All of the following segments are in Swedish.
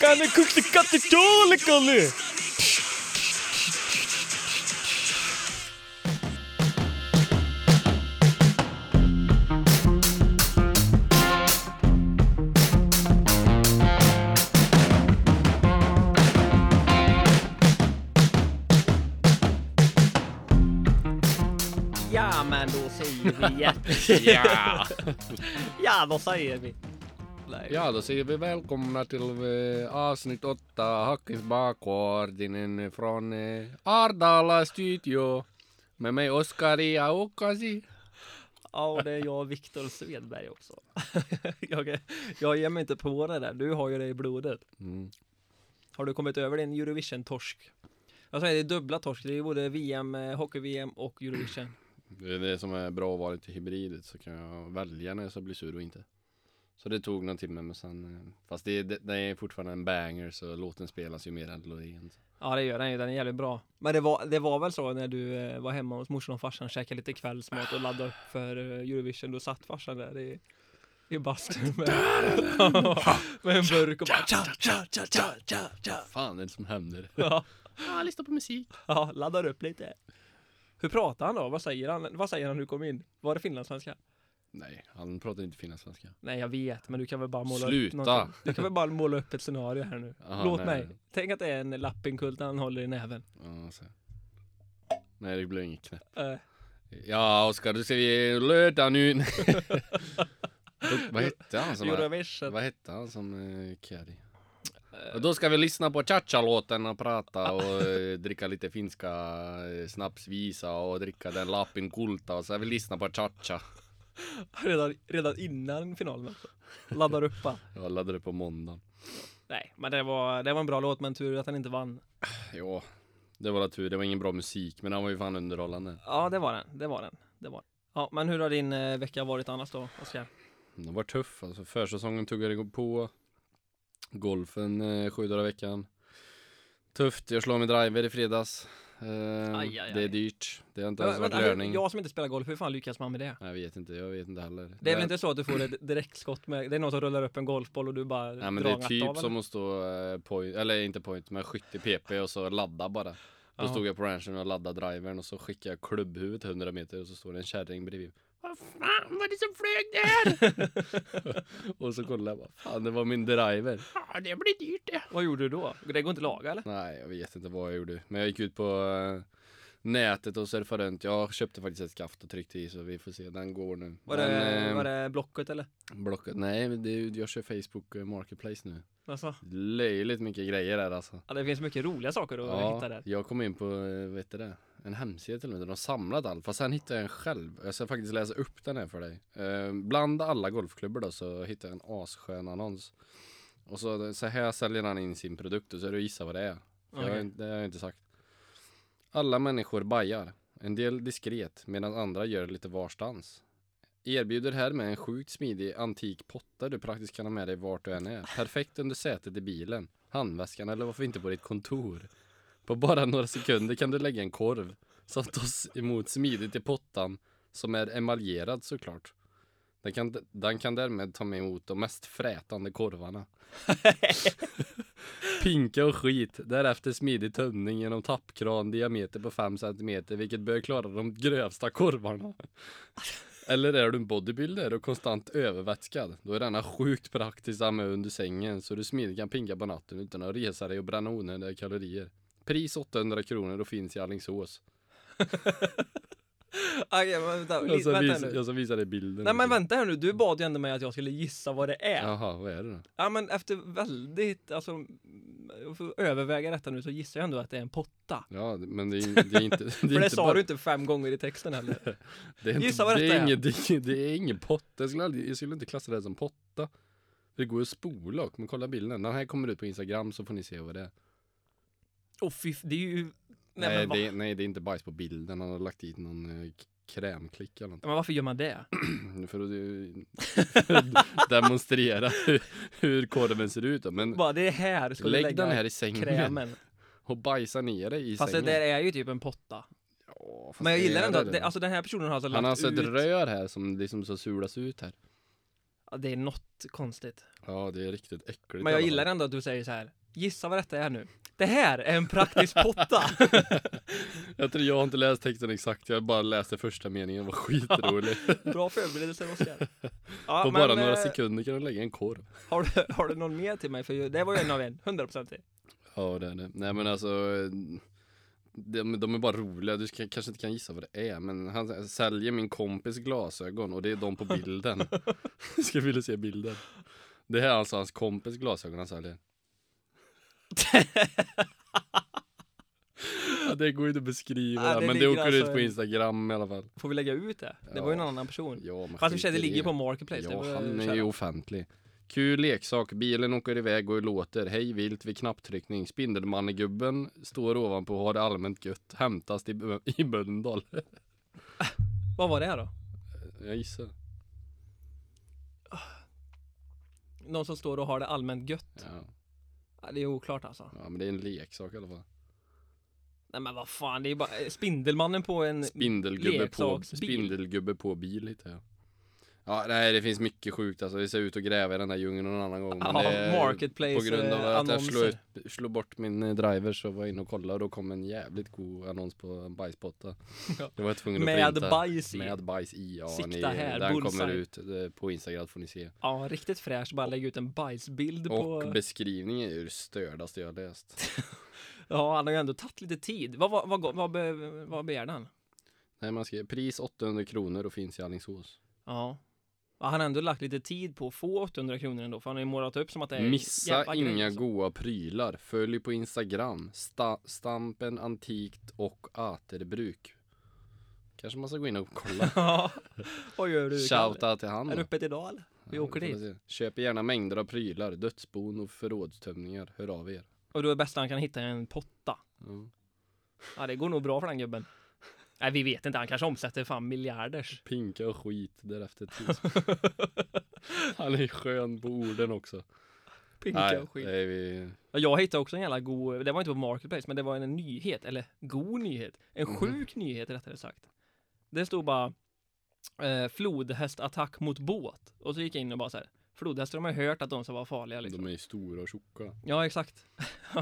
Kanne kukte katte tjole kalle. Ja, men då säger vi hjärtligt. Ja. Ja, då säger vi. Nej. ja, då säger vi välkomna till eh, avsnitt åtta, Hackis bakgården från eh, Ardala studio. Med mig Oskaria Okasi. Ja, och det är jag och Viktor Svedberg också. jag, är- jag ger mig inte på det där. Du har ju det i blodet. Mm. Har du kommit över din Eurovision-torsk? Jag säger det är dubbla torsk. Det är ju både VM, eh, hockey-VM och Eurovision. Det är det som är bra att vara lite hybridet så kan jag välja när jag ska bli sur och inte. Så det tog någon timme men sen, eh, fast det, det, det är fortfarande en banger så låten spelas ju mer än melodin. Ja, det gör den ju. Den är jävligt bra. Men det var, det var väl så när du eh, var hemma hos morsan och farsan, käkade lite kvällsmat och laddade upp för eh, Eurovision. Då satt farsan där i, i bastun med, med en burk och bara tja, tja, tja, tja, tja, tja. Fan är det som händer? Ja. Ja, lyssna på musik. Ja, laddar upp lite. Hur pratar han då? Vad säger han? Vad säger han när du kom in? Var det finlandssvenska? Nej, han pratar inte finlandssvenska. Nej, jag vet, men du kan väl bara måla upp Sluta. någonting. Du kan väl bara måla upp ett scenario här nu. Aha, Låt nej. mig. Tänk att det är en lappinkult han håller i näven. Ja, så. Nej, det blir inget knä. Eh, Ja, Oskar, du ser vi lördag nu. Då- vad hette han som var, Eurovision. Vad hette han som uh, Kari? Och då ska vi lyssna på cha-cha-låten och prata och eh, dricka lite finska eh, snapsvisa och dricka den lappin kulta och så vi lyssna på cha-cha. Redan, redan innan finalen alltså. Laddar upp va? Jag laddade det på måndagen. Nej, men det var, det var en bra låt, men tur att han inte vann. Jo, det var tur. Det var ingen bra musik, men han var ju fan underhållande. Ja, det var den. Det var den. Det var den. Ja, men hur har din eh, vecka varit annars då, Oskar? Den var tuff alltså. Försäsongen tuggade igång på. Golfen eh, sju dagar i veckan. Tufft, jag slår min driver i fredags. Eh, aj, aj. Det är dyrt. Det har inte ens Men, varit alltså, löning. jag som inte spelar golf, hur fan lyckas man med det? Nej, Jag vet inte, jag vet inte heller. Det är väl inte så att du får ett direktskott med, det är någon som rullar upp en golfboll och du bara Nej men det drar är en typ ratt av som att stå eh, point, eller inte point, men 70 pp och så ladda bara. Då Ja. stod jag på ranchen och laddade drivern och så skickade jag klubbhuvudet 100 meter och så står det en kärring bredvid. Vad fan var det som flög där? och så kollade jag bara, fan det var min driver. Ja, det blir dyrt det. den. Vad gjorde du då? Det går inte att laga eller? Nej, jag vet inte vad jag gjorde. Men jag gick ut på eh, nätet och surfade runt. Jag köpte faktiskt ett skaft och tryckte i så vi får se. Den går nu. Var, Men, det, eh, var det blocket eller? Blocket. Nej, men det, är ju- jag kör Facebook eh, Marketplace nu. Alltså, Löjligt mycket grejer där alltså. ja, det finns mycket roliga saker att hitta där. jag kom in på, eh, vad heter det? En hemsida till och med, där de har samlat allt. Fast sen hittade jag en själv. Jag ska faktiskt läsa upp den här för dig. Eh, bland alla golfklubbor då så hittade jag en asskön annons. Och så, så här säljer han in sin produkt och så är det att gissa vad det är. För Jag, har Okej. inte- det har jag inte sagt. Alla människor bajar. En del diskret medan andra gör det lite varstans. Erbjuder härmed en sjukt smidig antik potta du praktiskt kan ha med dig vart du än är. Perfekt under sätet i bilen, handväskan eller varför inte på ditt kontor. På bara några sekunder kan du lägga en korv som tas emot smidigt i pottan som är emaljerad såklart. Den kan, den kan därmed ta emot de mest frätande korvarna. Pinka och skit, därefter smidig tömning genom tappkran diameter på 5 cm vilket bör klara de grövsta korvarna. Eller är du en bodybuilder och konstant övervätskad, då är denna sjukt praktisk att ha med under sängen så du smidigt kan pinka på natten utan att resa dig och bränna onödiga kalorier. Pris 800 kronor och finns i Alingsås. Okej, men vänta, Jag li- ska, vänta visa, nu. jag ska visa dig bilden. Nej men vänta här nu, du bad ju ändå mig att jag skulle gissa vad det är. Ja, Jaha, vad är det då? men efter väldigt, alltså, mm, jag får överväga detta nu så gissar jag ändå att det är en potta. Ja, det- men det är, det är inte... Det är För det inte sa bara- du inte fem gånger i texten heller. Det är inte, Gissa vad det detta är. är. Ingen, det, är ingen, det är ingen potta. Jag skulle, aldrig, jag skulle inte klassa det här som potta. Det går ju att spola och, men kolla bilden. Den här kommer ut på Instagram så får ni se vad det är. Åh fy, f- det är ju... Nej, Nej, men, va? det, är- nej det är inte bajs på bilden. Han har lagt dit någon eh, k- krämklick eller något. Ja, men varför gör man det? För att eh, för att demonstrera hur, hur korven ser ut. Då. Men Bara det är här du skulle lägg lägga den här i sängen krämen. och bajsa ner dig i Fast det sängen. där är ju typ en potta. Ja, fast Men jag det gillar är ändå att det. det, alltså den här personen har alltså Han har lagt alltså ut ett rör här som liksom så sulas ut här. Ja, det är något konstigt. Ja, det är riktigt äckligt. Men jag i alla gillar fall. ändå att du säger så här. Gissa vad detta är nu. Det här är en praktisk potta. Jag tror jag har inte läst texten exakt, jag bara läste första meningen, det var skitrolig. Bra förberedelser Oskar. Ja, På men, bara några eh, sekunder kan du lägga en korv. Har du, har du någon mer till mig? För ju- det var ju en av en. 100% till. Ja det är det. Nej men alltså eh, de, de är bara roliga, du ska, kanske inte kan gissa vad det är men han säljer min kompis glasögon och det är de på bilden. ska vilja se bilden. Det här är alltså hans kompis glasögon han säljer. ja, det går ju inte att beskriva Ja, det men det ligger åker alltså ut på en- Instagram i alla fall. Får vi lägga ut det? Det var ju en annan person. Ja, men Fast i och för sig, skit det i ligger på Marketplace. det Ja, var ju han är kära. ju offentlig. Kul leksak, bilen åker iväg och låter. Hej vilt vid knapptryckning. Spindelmannegubben står ovanpå och har det allmänt gött. Hämtas i, Bö- i Mölndal. Vad var det här då? Jag gissar. Någon som står och har det allmänt gött? Ja. Ja, det är oklart alltså. ja, men det är en leksak i alla fall. Nej men vad fan, det är ju bara eh, Spindelmannen på en... Spindelgubbe på, leksaksbil. spindelgubbe på bil hittar jag. Ja, nej det finns mycket sjukt alltså. Vi ser ut och gräva i den där djungeln någon annan gång. men Ja, det är- marketplace, På grund av eh, att jag slog, annonser. ut, slog bort min eh, driver så var jag inne och kollade och då kom en jävligt god annons på en bajspotta. Ja. Det var jag tvungen att Med printa. bajs i. Med bajs i, ja. Sikta ni, här, den kommer bullseye. ut eh, på Instagram får ni se. Ja, riktigt fräsch. Bara lägga ut en bajsbild Och på... beskrivningen är ju det stördaste jag har läst. Ja, han har ju ändå tagit lite tid. Vad, vad, vad, vad, be, vad begärde han? Nej, man skrev pris 800 kronor och finns i Alingsås. Ja. Ja, Han har ändå lagt lite tid på att få 800 kronor ändå, för han har ju målat upp som att det är en Missa jävla grej, inga liksom. goa prylar. Följ på Instagram. Sta stampen antikt och aterbruk. Kanske man ska gå in och kolla. Ja. Vad gör du? Shoutout till han. Är då. du uppe till Dal? Vi Ja, åker det får dit. vi se. Köper gärna mängder av prylar, dödsbon och förrådstömningar. Hör av er. Och då är det bästa han kan hitta en potta. Ja. Ja, det går nog bra för den gubben. Nej, vi vet inte. Han kanske omsätter fan miljarders. Pinka och skit därefter tills. Han är skön på orden också. Pinka och skit. Nej, vi... Ja, Jag hittade också en jävla god, det var inte på Marketplace, men det var en nyhet, eller god nyhet, en Mhm. sjuk nyhet rättare sagt. Det stod bara eh, flodhästattack mot båt och så gick jag in och bara så här, flodhästar de har ju hört att de ska vara farliga liksom. De är ju stora och tjocka. Ja, exakt.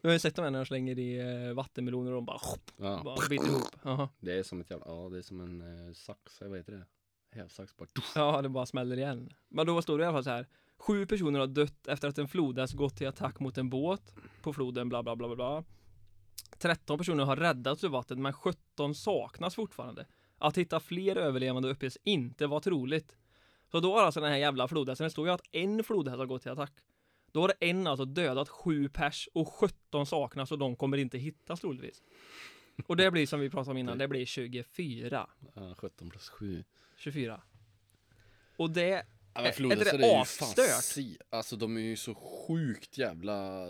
du har ju sett de här när de slänger i eh, vattenmeloner och de bara, Ja, bara biter ihop. Jaha. det är som ett jävla, ja det är som en eh, sax, vad heter det? Hävsax bara. Ja, det bara smäller igen. Men då stod det i alla fall så här, sju personer har dött efter att en flodhäst gått till attack mot en båt på floden bla bla bla bla, bla. 13 personer har räddats ur vattnet men 17 saknas fortfarande. Att hitta fler överlevande uppges inte vara troligt. Så då har alltså den här jävla flodhästen, det står ju att en flodhäst har gått till attack. Då har en alltså dödat sju pers och 17 saknas och de kommer inte hittas troligtvis. Och det blir som vi pratade om innan, det blir 24. Ja, 17 plus 7. 24. Och det Ja, Ä- men flodhästar är Äh, är, det ju fan asstört? si- Alltså de är ju så sjukt jävla...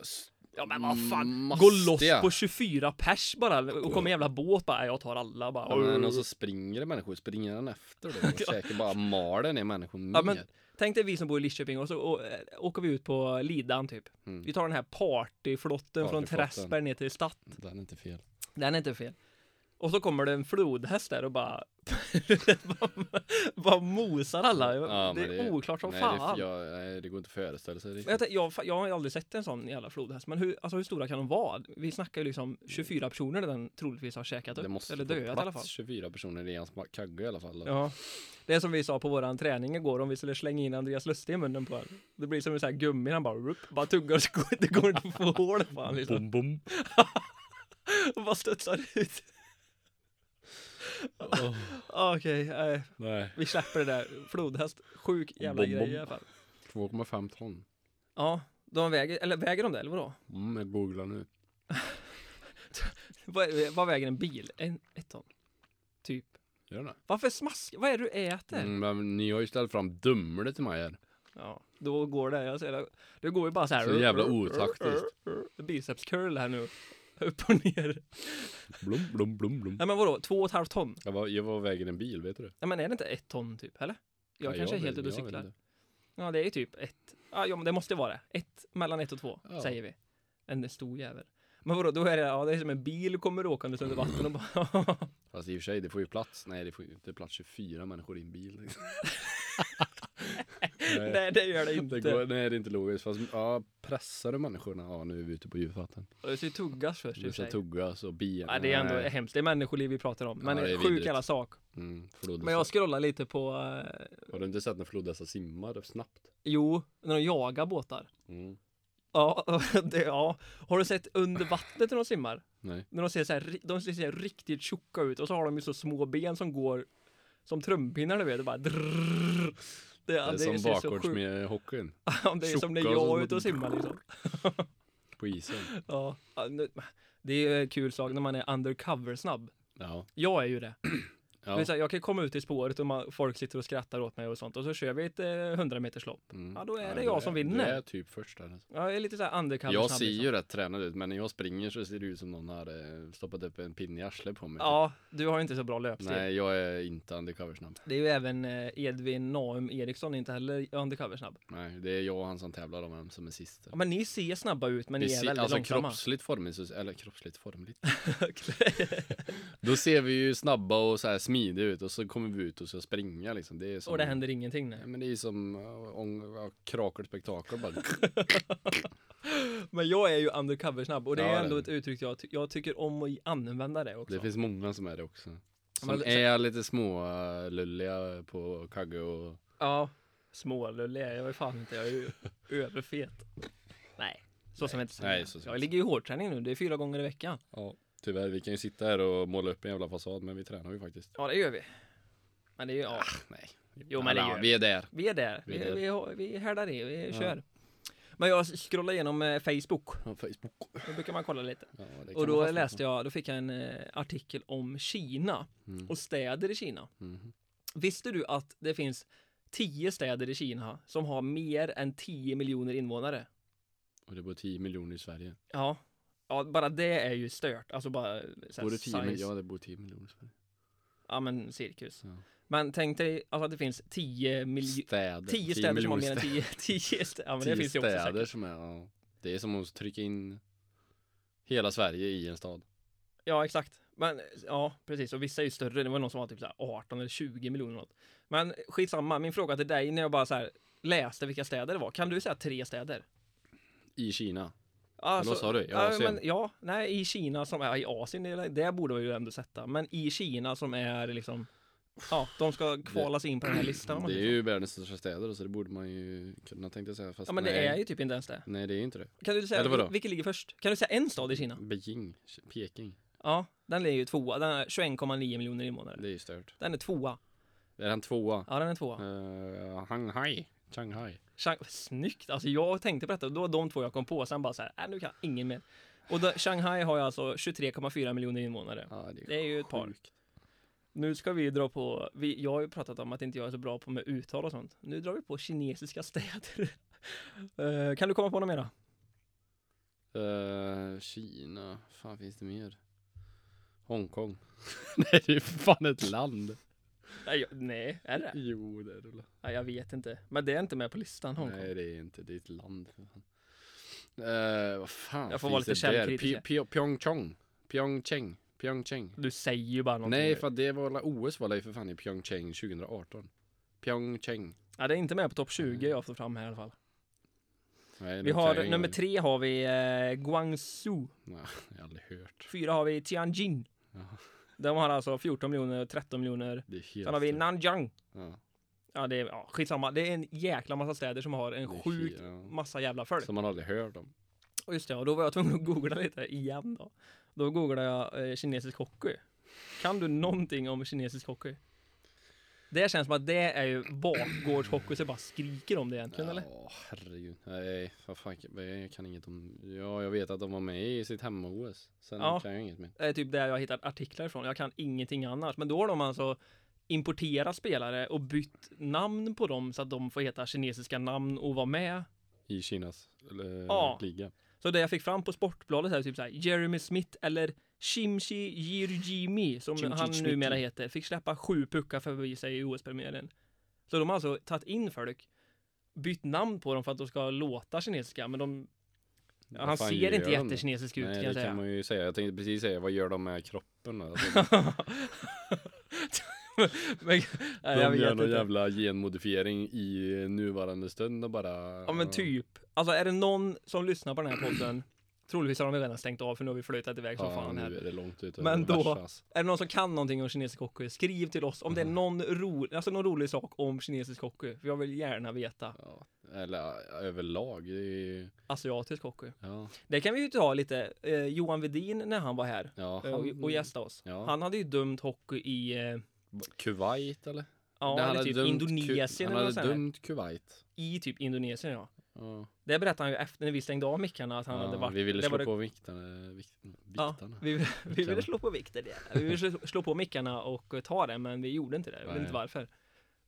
s- Ja men vad fan, gå Mastiga. loss på 24 pers bara och kom en jävla båt bara, jag tar alla bara. Ja, men, alltså- och så springer det människor, springer han efter då och käkar bara malen i människor mer. Ja, men Tänk dig vi som bor i Lidköping och så och, eh, åker vi ut på Lidan typ. Mm. Vi tar den här partyflotten från Partyflotten. Träsberg ner till Statt. Den är inte fel. Den är inte fel. Och så kommer det en flodhäst där och bara, bara, bara mosar alla. Ja, det men är oklart som nej, fan. Det, jag, nej, det går inte att föreställa sig Men jag, riktigt. tänkte- jag, jag har ju aldrig sett en sån jävla flodhäst, men hur, alltså hur stora kan de vara? Vi snackar ju liksom 24 personer där den troligtvis har käkat Det upp, måste eller få dödat i alla fall. plats 24 personer i hans ma- kagge i alla fall. då. Ja. Det är som vi sa på våran träning igår, om vi skulle slänga in Andreas Lustig i munnen på honom. Det blir som en sån här gummi, han bara, rup, bara tuggar så går det går inte att få hål på honom liksom. Bom, bom. Och bara studsar ut. Okej, eh, Nej. vi släpper det där. Flodhäst, sjuk jävla Bom, bom. grej i alla fall. 2,5 ton. Ja, de väger, eller väger de det eller vadå? Mm, jag googlar nu. Vad, vad väger en bil? En, ett ton? Typ. Gör den det? Varför smask? Vad är det du äter? Mm, men ni har ju ställt fram Dumle till mig här. Ja, då går det. Jag ser det. Det går ju bara så här. Så jävla otaktiskt. Biceps curl här nu. Upp och ner. Blom, blom, blom, blom. Nej men vadå, två och ett halvt ton? Jag var, jag var vägen en bil, vet du det? Nej men är det inte ett ton typ, eller? Jag Ja, kanske är vet- helt ute och jag vet cyklar. inte. Ja, det är ju typ ett. Ja, ja, men det måste vara det. Ett, mellan ett och två, Ja. säger vi. En stor jävel. Men vadå, då är det, ja, det är som en bil kommer åkandes under vatten och bara... Fast i och för sig, det får ju plats. Nej, det får ju inte plats 24 människor i en bil. liksom. Nej, Nej det gör det inte. det går, nej, det är inte logiskt. Fast, ja, pressar du människorna? Ja, nu är vi ute på djupt vatten. Och Det ska ju tuggas först i Du och för ska sig. tuggas och ben. Ja, det är ändå Nej. hemskt, det är människoliv vi pratar om. Men Ja, det är sjuk vidrigt. jävla sak. Mm, flodhästar. Men jag scrollar lite på, eh, Har du inte sett när flodhästar simmar snabbt? jo, när de jagar båtar. Mm. Ja, det, ja. Har du sett under vattnet när de simmar? Nej. När de ser så här, ri- de ser så här riktigt tjocka ut och så har de ju så små ben som går som trumpinnar du vet, det bara drrrr. Det, Det är det, som ser så sjukt- bakgårds med hockeyn. Ja, det är som när tjocka jag och så- är ute och simmar liksom. På isen. Ja, ja, nu- det är en kul sak när man är undercover snabb. Ja. Jag är ju det. Det ja. är så här, jag kan komma ut i spåret och man, folk sitter och skrattar åt mig och sånt och så kör vi ett eh, 100 meters lopp. Mm. Ja, då är det du jag som vinner. Du är typ först där. Alltså. Ja, jag är lite så här undercover Jag snabb. ser liksom. ju rätt tränad ut, men när jag springer så ser det ut som någon har eh, stoppat upp en pinne i arslet på mig. typ. Ja, du har ju inte så bra löpstil. Nej, jag är inte undercover snabb. Det är ju även eh, Edvin Naum Eriksson inte heller undercover snabb. Nej, det är jag och han som tävlar om vem som är sist. Ja, men ni ser snabba ut men Vi ni är ser- väldigt alltså långsamma. kroppsligt formligt, så- eller kroppsligt formligt. Då ser vi ju snabba och så här smidiga ut och så kommer vi ut och så springa liksom. Det är som, och det händer ingenting Ja, nu. men det är ju som äh, ång- ja, krakel spektakel bara. Men jag är ju undercover snabb och det Ja, är ändå det- ett uttryck jag, ty- jag tycker om att använda det också. Det finns många som är det också. Som men- är lite små äh, lulliga på kagge och Ja, smålullig är jag ju fan inte. Jag är ju överfet. Nej, så som jag inte Nej, säger. så som Jag inte. ligger ju i hårdträning nu. Det är fyra gånger i veckan. ja. Tyvärr, vi kan ju sitta här och måla upp en jävla fasad men vi tränar ju faktiskt. Ja, det gör vi. Men det är ju, ja. Nej. Jo, men det Ja, gör Vi är där. Vi är där. Ah, Vi Vi, är där. vi, har- vi härdar i. Vi Ja. kör. Men jag scrollade igenom eh, Facebook. Ja, Facebook. Då brukar man kolla lite. Ja, det kan Och man då fastna läste på. jag, då fick jag en eh, artikel om Kina Mm. och städer i Kina. Mhm. Visste du att det finns 10 städer i Kina som har mer än 10 miljoner invånare? Och det bor 10 miljoner i Sverige. Ja. Ja, bara det är ju stört. Alltså bara så här, Bor det 10 miljoner? size. Ja, det bor 10 miljoner i Sverige. Ja, men cirkus. Ja. Men tänk dig alltså att det finns 10 miljoner. Städer. 10 10 städer som har miljoner mer än 10 10 städer. Ja, men det tio finns ju också städer säkert. som är, ja, det är som att trycka in hela Sverige i en stad. Ja, exakt. Men ja, precis. Och vissa är ju större. Det var någon som var typ så här 18 eller 20 miljoner något. Men skitsamma. Min fråga till dig när jag bara så här läste vilka städer det var. Kan du säga tre städer? I Kina. Alltså, vad sa du? I ja, Asien? men, ja, nej, i Kina som är i Asien, det, det borde vi ju ändå sätta. Men i Kina som är liksom, ja, de ska kvalas in på den här listan. om man Det är säger så. ju världens största städer så det borde man ju kunna tänkte jag säga. Fast ja, men nej, det är ju typ inte ens det. Nej det är ju inte det. Kan du säga, Eller vadå? vil- vilken ligger först? Kan du säga en stad i Kina? Beijing, Peking. Ja, den ligger ju tvåa. Den är 21,9 miljoner invånare. Det är ju stört. Den är tvåa. Är han tvåa? Ja, den är tvåa. Eh, Shanghai. Shanghai. Shang- Snyggt! Alltså jag tänkte på detta, då var de två jag kom på, sen bara så här, äh, nu kan jag ingen mer. Och då, Shanghai har ju alltså 23,4 miljoner invånare. Ja, det, är Det är ju ett par. sjukt. Nu ska vi dra på, vi, jag har ju pratat om att inte jag är så bra på med uttal och sånt. Nu drar vi på kinesiska städer. Eh, kan du komma på något mer då? Eh, Kina. fan finns det mer? Hongkong. nej det är ju fan ett land. Nej, jag, nej är det? Jo det är det väl. Nej, jag vet inte. Men det är inte med på listan Hongkong. Nej det är inte, det är ett land för fan. Eh, vad fan Jag får finns vara lite det där? källkritisk Py- Py- Pyeongchang, Pyeongchang, Pyeongchang Du säger ju bara någonting. Nej nu. för det var alla OS var det ju för fan i Pyeongchang 2018 Pyeongchang ja, det är inte med på topp 20 jag får fram här i alla fall. Nej, Vi det kan jag har, ingen nummer aning. tre har vi eh, Guangzhou. Nej, jag har aldrig hört Fyra har vi Tianjin. Jaha. De har alltså 14 miljoner och 13 miljoner. Det är helt Sen har vi stört. Nanjiang. ja, Ja, det är ja, skitsamma. Det är en jäkla massa städer som har det en är sjuk helt- ja. massa jävla folk. Som man aldrig hört om Och just det, och då var jag tvungen att googla lite igen då. Då googlade jag eh, kinesisk hockey. Kan du någonting om kinesisk hockey? Det känns som att det är ju bakgårdshockey så jag bara skriker om det egentligen eller? Ja herregud Nej vad fan jag kan inget om Ja jag vet att de var med i sitt hemma-OS Sen Ja. kan jag inget mer Det är typ där jag har hittat artiklar ifrån. Jag kan ingenting annars. Men då har de alltså importerat spelare och bytt namn på dem så att de får heta kinesiska namn och vara med. I Kinas eller, Ja. liga Så det jag fick fram på Sportbladet här, typ så här, Jeremy Smith eller Shimshi Jirjimi, som Shimshi han Smithi. numera heter, fick släppa sju puckar förbi sig i OS-premiären. Så de har alltså tagit in folk, bytt namn på dem för att de ska låta kinesiska, men de, ja, Vad han fan ser gör inte de då? jättekinesisk ut Nej, kan det jag säga. kan man ju säga. Jag tänkte precis säga, vad gör de med kroppen? då? Alltså, Men, nej, jag De gör vet någon inte. jävla genmodifiering i nuvarande stund och bara Ja men typ. Alltså är det någon som lyssnar på den här podden, troligtvis har de redan stängt av för nu har vi flöjtat iväg som fan nu här. är det långt ut Men då- Haschas. Är det någon som kan någonting om kinesisk hockey, skriv till oss om det är Mm. någon, ro, alltså någon rolig sak om kinesisk hockey. För jag vill gärna veta. Ja. Eller ja, överlag, det är ju- Asiatisk hockey. ja, Det kan vi ju ta lite. Eh, Johan Vedin när han var här ja eh, och, och gästade oss. Ja. Han hade ju dömt hockey i, eh, Kuwait eller? ja, Det eller typ dömt Indonesien Ku- eller Han något hade sånt här. dömt Kuwait. I typ Indonesien ja. Ja. Det berättade han ju efter när vi stängde av mickarna att han hade Ja, varit. vi ville det slå var det- på viktarna. Vikt, Ja, viktarna. vi, vi Mickarna. ville slå på vikten. ja. Vi ville slå- slå på mickarna och eh, ta det, men vi gjorde inte det. Jag vet Nej. inte varför.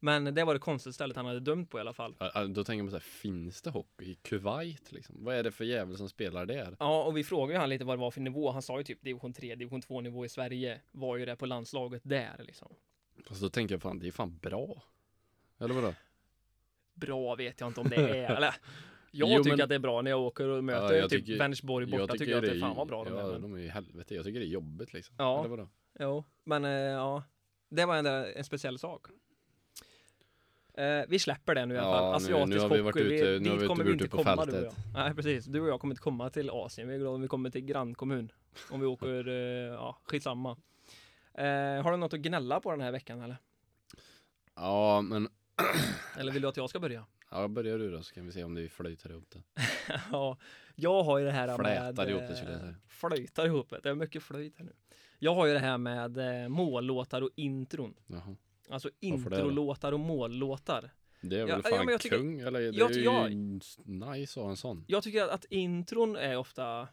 Men det var det konstigaste stället han hade dömt på i alla fall. Ja, ja, Då tänker man så här, finns det hockey i Kuwait liksom? Vad är det för jävel som spelar där? Ja, och vi frågade ju han lite vad det var för nivå. Han sa ju typ division 3, division 2 nivå i Sverige var ju det på landslaget där liksom. Fast då tänker jag fan, det är fan bra. Eller vadå? Bra vet jag inte om det är. Eller, jag Jo, tycker men- att det är bra när jag åker och möter jag typ tycker- Vänersborg borta. tycker, jag att det är fan vad bra de ja, är. de är. Men, de är i helvete. Jag tycker det är jobbigt liksom. Ja. Eller vadå? Jo, men eh, ja. Det var en, där- en speciell sak. Eh, vi släpper det nu i alla Ja, fall. nu- Asiatisk nu har vi varit hockey, ute- nu dit har vi kommer varit inte ute på komma, Du och fältet. jag. Nej, precis. Du och jag kommer inte komma till Asien. Vi är glada om vi kommer till grannkommun. Om vi åker, eh, ja, skitsamma. Eh, har du något att gnälla på den här veckan eller? Ja, men Eller vill du att jag ska börja? ja, börjar du då så kan vi se om vi flöjtar ihop det. ja, jag har ju det här med... Flätar ihop det, eh, skulle jag säga. Flöjtar ihop det. Det är mycket flöjt här nu. Jag har ju det här med eh, mållåtar och intron. Jaha. Alltså Varför det då? introlåtar och mållåtar. Det är väl Ja, ja, fan men jag tycker- kung? Eller det jag är ju tycker nice att ha en sån. Jag tycker att, att intron är ofta...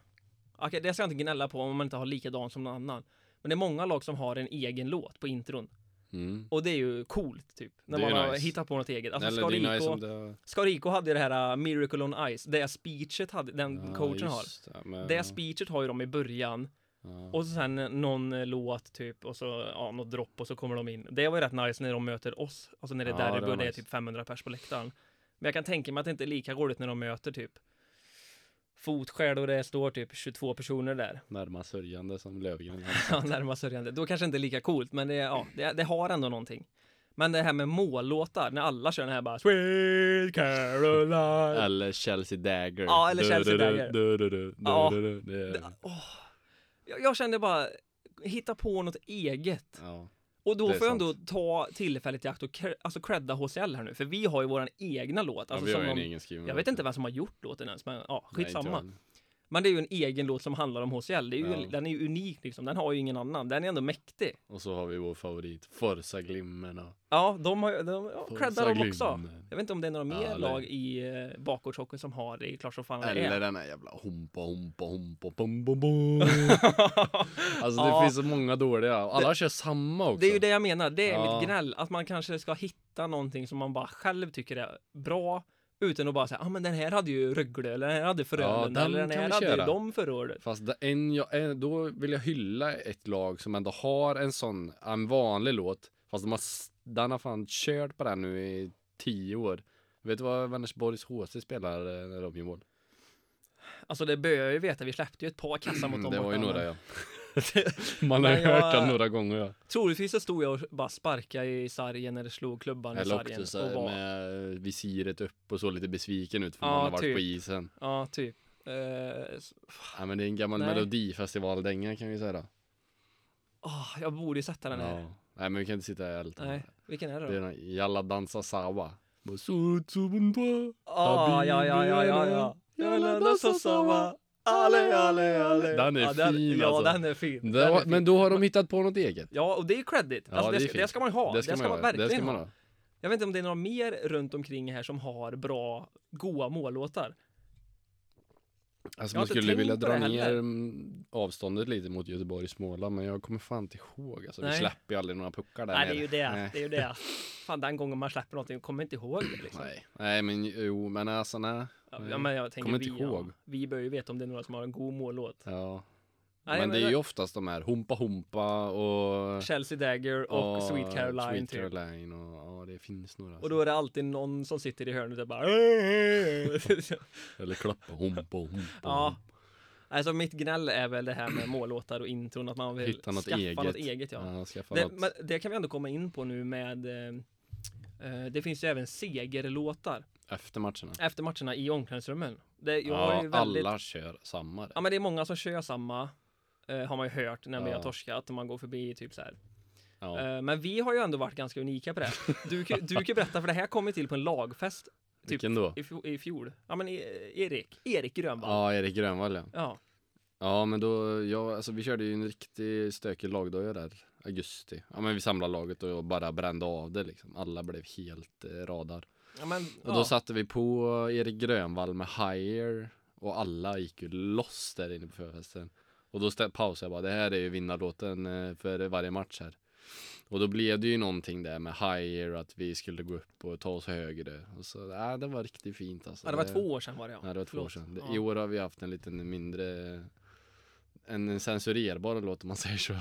Okej, det ska jag inte gnälla på om man inte har likadan som någon annan. Men det är många lag som har en egen låt på intron. Mm. Och det är ju coolt, typ. När Det är man har nice. hittat på något eget. Alltså, Eller det är nice Scarico, om det... Scarico hade ju det här uh, Miracle on Ice, det speechet hade, den Ja, coachen har. just det, men- Det speechet har ju de i början. ja. Och så sen någon eh, låt typ och så ja, något dropp och så kommer de in. Det var ju rätt nice när de möter oss. Alltså när det är Ja, där det det, var börjar, det är nice. typ 500 pers på läktaren. Men jag kan tänka mig att det inte är lika roligt när de möter typ Fotskäl och det står typ 22 personer där. Närmast sörjande som Löfgren Ja, Närmast sörjande. Då kanske inte är lika coolt, men det, är- ja, det, det har ändå någonting. Men det här med mållåtar, när alla kör den här bara Sweet Caroline. Eller Chelsea Dagger. Ja, eller Du, Chelsea du, du, Dagger. du, du, du, du, Ja. du, du. Det är- Jag, jag kände bara, hitta på något eget. Ja. Och då Det får är jag ändå ta tillfället i akt och cre- alltså credda HCL här nu, för vi har ju våran egna låt. Ja, Alltså, vi har som ju en de- egen skriven jag låt. vet inte vem som har gjort låten ens, men ja, Nej, inte jag skitsamma. heller. men det är ju en egen låt som handlar om HCL. Det är ju, Ja. Den är ju unik liksom, den har ju ingen annan. Den är ändå mäktig. Och så har vi vår favorit, Forza Glimmen och Ja, de har ju, de, ja, Forza creddar de också. Glimmen. Jag vet inte om det är några mer Ja, det- lag i eh, bakgårdshockeyn som har det, det är klart som fan det Eller är. den här jävla humpa humpa humpa bum bum bum. Alltså det Ja. finns så många dåliga. Alla kör samma också. Det är ju det jag menar, det är Ja. mitt gnäll. Att man kanske ska hitta någonting som man bara själv tycker är bra. Utan att bara säga, ja ah, men den här hade ju Rögle, eller den här hade Frölunda, den eller den kan här vi hade ju köra. de förra året. Fast det, en, jag, en, då vill jag hylla ett lag som ändå har en sån, en vanlig låt. Fast de har, s- den har fan kört på den nu i tio år. Vet du vad Vänersborgs HC spelar eh, när de gör mål? Alltså det börjar jag ju veta, vi släppte ju ett par kassar mot dem. Mm, det var ju borta, några men- ja. Man har Men ju hört jag- den några gånger ja. Troligtvis så stod jag och bara sparkade i sargen eller slog klubban i Eller åkte sargen. så här och var, med eh, visiret upp och så lite besviken ut för Ja, man har varit typ. på isen. Ja, typ. Eh, s- Ja men det är en gammal Nej. melodifestivaldänga kan vi säga då. ah, jag borde ju sätta den här. Ja. Nej men vi kan inte sitta här och älta. Nej, vilken är det då? Det är den Jalla dansa sawa. Basutsubuntua. Ah, ja, ja, ja, ja, ja. Jalla Nassasava. Ale, ale, ale. Den är ja, den, fin, Ja, alltså. den är fin. Det den är var, fin. men då har de hittat på något eget. Ja, och det är ju credit. alltså, det, är ska- fint. det ska man ju ha. Det ska, man, ha. verkligen det ska ha. man ha. Jag vet inte om det är några mer runt omkring här som har bra, goa mållåtar. Alltså Jag har man inte skulle tänkt vilja på det dra heller. ner mm, avståndet lite mot Göteborg Småland men jag kommer fan inte ihåg. Alltså, vi Nej. släpper ju aldrig några puckar där Nej, det nere. är ju det. Nej. Det är ju det. Fan, den gången man släpper någonting kommer inte ihåg det liksom. Nej. nej men jo men alltså nej. Ja, men jag tänker Kommer vi, inte ja, ihåg. vi bör ju veta om det är några som har en god mållåt. Ja. Nej, men men, det är det- ju oftast de här Humpa Humpa och Chelsea Dagger och Sweet Caroline. Sweet typ. Caroline och ja det finns några. Och då är det alltid någon som sitter i hörnet och bara Eller klappa Humpa Humpa. Ja. Alltså mitt gnäll är väl det här med mållåtar och intron, att man vill Hitta något skaffa eget. något eget ja. Ja, skaffa Det, något. men det kan vi ändå komma in på nu med eh, eh, Det finns ju även segerlåtar Efter matcherna. efter matcherna i omklädningsrummen. Det, jag har Ja, ju väldigt, alla kör samma. Ja men det är många som kör samma eh, Har man ju hört när vi Ja. har torskat och man går förbi typ så här. Ja. Eh, men vi har ju ändå varit ganska unika på det. här. Du, kan- du kan ju berätta för det här kom ju till på en lagfest Vilken då? i, fjo- i fjol. Ja men E- Erik, Erik Grönvall. Ja. Ja, Erik Grönvall ja. ja. Ja, men då, ja, alltså vi körde ju en riktig stökig lagdag där, augusti. Ja, men vi samlade laget och bara brände av det liksom. Alla blev helt eh, radar. men, Och då satte vi på Erik Grönvall med Higher och alla gick ju loss där inne på förfesten. Och då stä- pausade jag bara, det här är ju vinnarlåten eh, för varje match här. Och då blev det ju någonting där med Higher, att vi skulle gå upp och ta oss högre. Och så, nej, det var riktigt fint alltså. ja, det var två år sedan var det ja. Ja, det var två Förlåt. år sedan. Det- Ja. I år har vi haft en liten mindre en censurerbar låt om man säger så.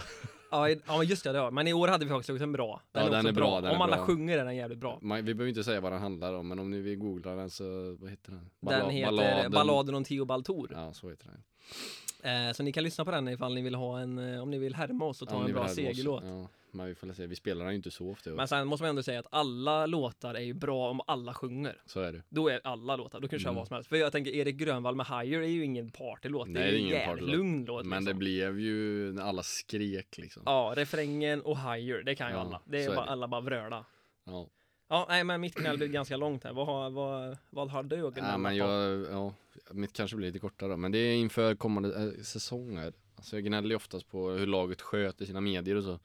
Ja, i- ja men just det, det var. men i år hade vi faktiskt också en bra. Ja, den också är bra, den är Om alla bra. sjunger är den jävligt bra. Man, vi behöver inte säga vad den handlar om men om ni vill googla den så, vad heter den? Den Balla- heter Balladen, om Theobald Thor. Ja, så heter den. Eh, så ni kan lyssna på den ifall ni vill ha en, eh, om ni vill härma oss och ta Ja, om ni en vill bra härma oss. segerlåt. Ja, men vi får väl se, vi spelar den ju inte så ofta i år. Men sen måste man ändå säga att alla låtar är ju bra om alla sjunger. Så är det. Då är alla låtar, då kan du köra Mm. vad som helst. För jag tänker Erik Grönvall med Higher är ju ingen partylåt. Nej, det är ju det är en ingen jävligt partylåt. lugn låt. Men det liksom. blev ju när alla skrek liksom. Ja. Ja, refrängen och Higher, det kan ju Ja, alla. Det är, så är bara, det. alla bara vröla. Ja, nej men mitt knäll blev ganska långt här. Vad, har- vad, vad har du att Ja, gnälla men på? jag, ja, mitt kanske blir lite kortare då, men det är inför kommande eh, säsonger. Alltså jag gnäller ju oftast på hur laget sköter sina medier och så.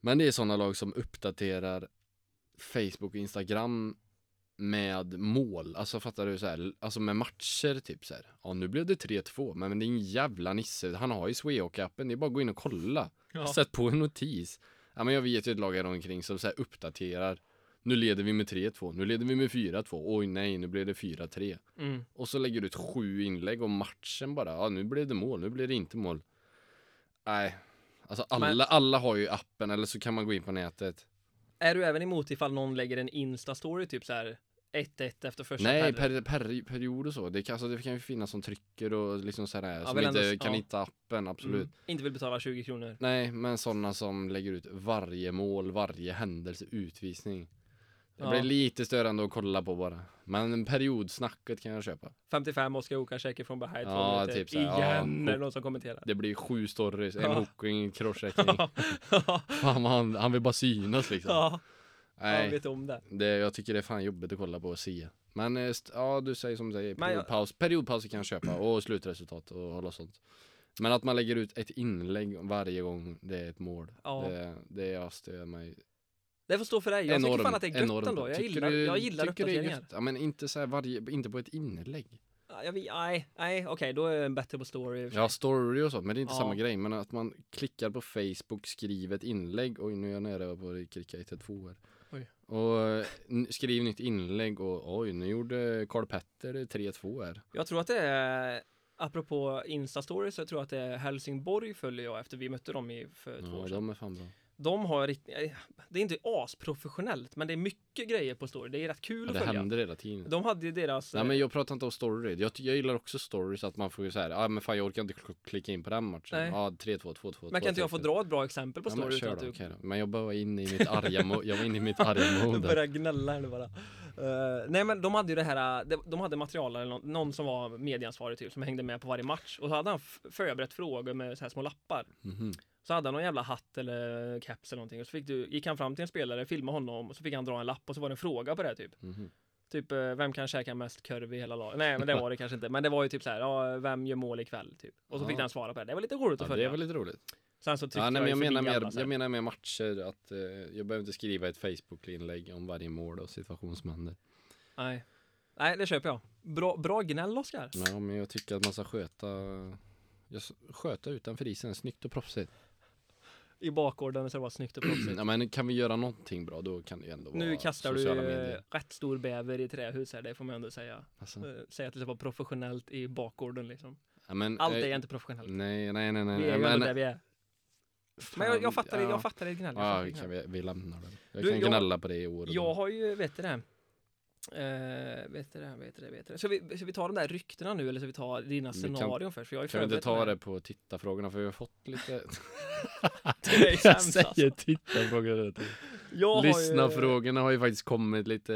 Men det är sådana lag som uppdaterar Facebook och Instagram med mål, alltså fattar du så här, alltså med matcher typ så här. Ja nu blev det 3-2, men det är en jävla nisse, han har ju Sveacupen, det är bara att gå in och kolla. Ja. Sätt på en notis. Ja men jag vet ju ett lag här omkring som så här uppdaterar. Nu leder vi med 3-2, nu leder vi med 4-2, oj nej nu blev det 4-3. Mm. Och så lägger du ut sju inlägg om matchen bara. Ja, nu blev det mål, nu blev det inte mål. Nej, alltså alla, Men- alla har ju appen eller så kan man gå in på nätet. Är du även emot ifall någon lägger en Insta-story typ så här 1-1 efter första Nej, perioden? per, per, period och så. Det kan, alltså, det kan ju finnas som trycker och liksom sådär som väl inte ändå s- kan ja. hitta appen, absolut. Mm. Inte vill betala 20 kronor. Nej, men sådana som lägger ut varje mål, varje händelse, utvisning. Det Ja. blir lite störande att kolla på bara. Men periodsnacket kan jag köpa. 55 Oskar Okasäker från Bahai två Ja, minuter. typ så här, ja, Igen, är det och- någon som kommenterar. Det blir sju stories, en Ja. hooking, en crosschecking. Fan, han, han vill bara synas liksom. ja, jag Nej, vet om det. det, jag tycker det är fan jobbigt att kolla på och se. Men eh, st- ja, du säger som du säger, Men jag- periodpaus, periodpauser kan jag köpa och slutresultat och hålla sånt. Men att man lägger ut ett inlägg varje gång det är ett mål, Ja. det, det jag stör mig Det får stå för dig. Jag tycker fan att det är gött ändå. Jag Tycker gillar, du- jag gillar tycker det är uppdateringar. gött? Ja, men inte, så här varje, inte på ett inlägg. Ja, jag vet- Nej, nej, okej, då är jag bättre på story. i och för sig. Ja, story och sånt, men det är inte Ja. samma grej. Men att man klickar på Facebook, skriver ett inlägg. Oj, nu är jag nära på att klicka ett, ett, två här. Oj. Och eh, n- skriv nytt inlägg och oj, nu gjorde Karl Petter 3-2 här. Jag tror att det är, apropå Insta-story, så jag tror att det är Helsingborg följer jag efter vi mötte dem i, för två år Ja, sedan. de är fan bra. De har riktigt, eh, det är inte asprofessionellt, men det är mycket grejer på story. Det är rätt kul Ja, att det följa. händer hela tiden. De hade ju deras... Nej eh, men jag pratar inte om story, jag, ty- jag gillar också stories att man får ju såhär, ja ah, men fan jag orkar inte kl- klicka in på den matchen. Nej. Ja, 3-2, 2-2, 2-2. men kan inte jag få dra ett bra exempel på ja, men, story? kör utan då, att du okej då. men jag bara var inne i mitt arga, mo- jag var inne i mitt arga Jag mode. börjar gnälla här nu bara. Eh, nej men de hade ju det här, eh, de- de hade material eller någon, någon som var medieansvarig typ som hängde med på varje match och så hade han f- förberett frågor med så här små lappar. Mhm. Så hade han någon jävla hatt eller keps eller någonting och så fick du, gick han fram till en spelare, filmade honom och så fick han dra en lapp och så var det en fråga på det typ. Mhm. Typ eh, vem kan käka mest korv i hela laget? Nej men det var det kanske inte men det var ju typ så här, ja vem gör mål ikväll typ. Och så Ja. fick han svara på det. Det var lite roligt att Ja, följa. det var lite roligt. Sen så tyckte Ja, nej, men jag, ju menar förbi alla mer, så här. jag menar mer matcher, att eh, jag behöver inte skriva ett Facebook-inlägg om varje mål och situation som händer. Nej. Nej det köper jag. Bra, bra gnäll Oskar. Ja, men jag tycker att man ska sköta, jag s- sköta utanför isen, snyggt och proffsigt. I bakgården så det var snyggt och proffsigt. Ja, men kan vi göra någonting bra, då kan det ju ändå vara Nu kastar du sociala eh, medier. rätt stor bäver i trähus här, det får man ändå säga. Alltså, Eh, Säga att det var professionellt i bakgården liksom. ja, men, Allt eh, är inte professionellt. Nej, nej, nej, nej. Vi är ju nej, ändå men, där vi är. Men jag, jag fattar det, jag fattar det gnäll. jag Ja, fattar vi det kan, gnäll. vi, vi lämnar det. Jag Du, kan jag- gnälla på det i år. och Jag då. har ju, vet du det? Eh, vet du det, vet du det, vet du det. Ska vi, ska vi ta de där ryktena nu eller ska vi ta dina Vi kan- scenarion först? För jag är Kan vi inte förberett ta med det på tittarfrågorna för vi har fått lite Det är Jag sämst, alltså. säger tittarfrågor hela tiden. Jag har ju- Lyssnarfrågorna typ- har ju faktiskt kommit lite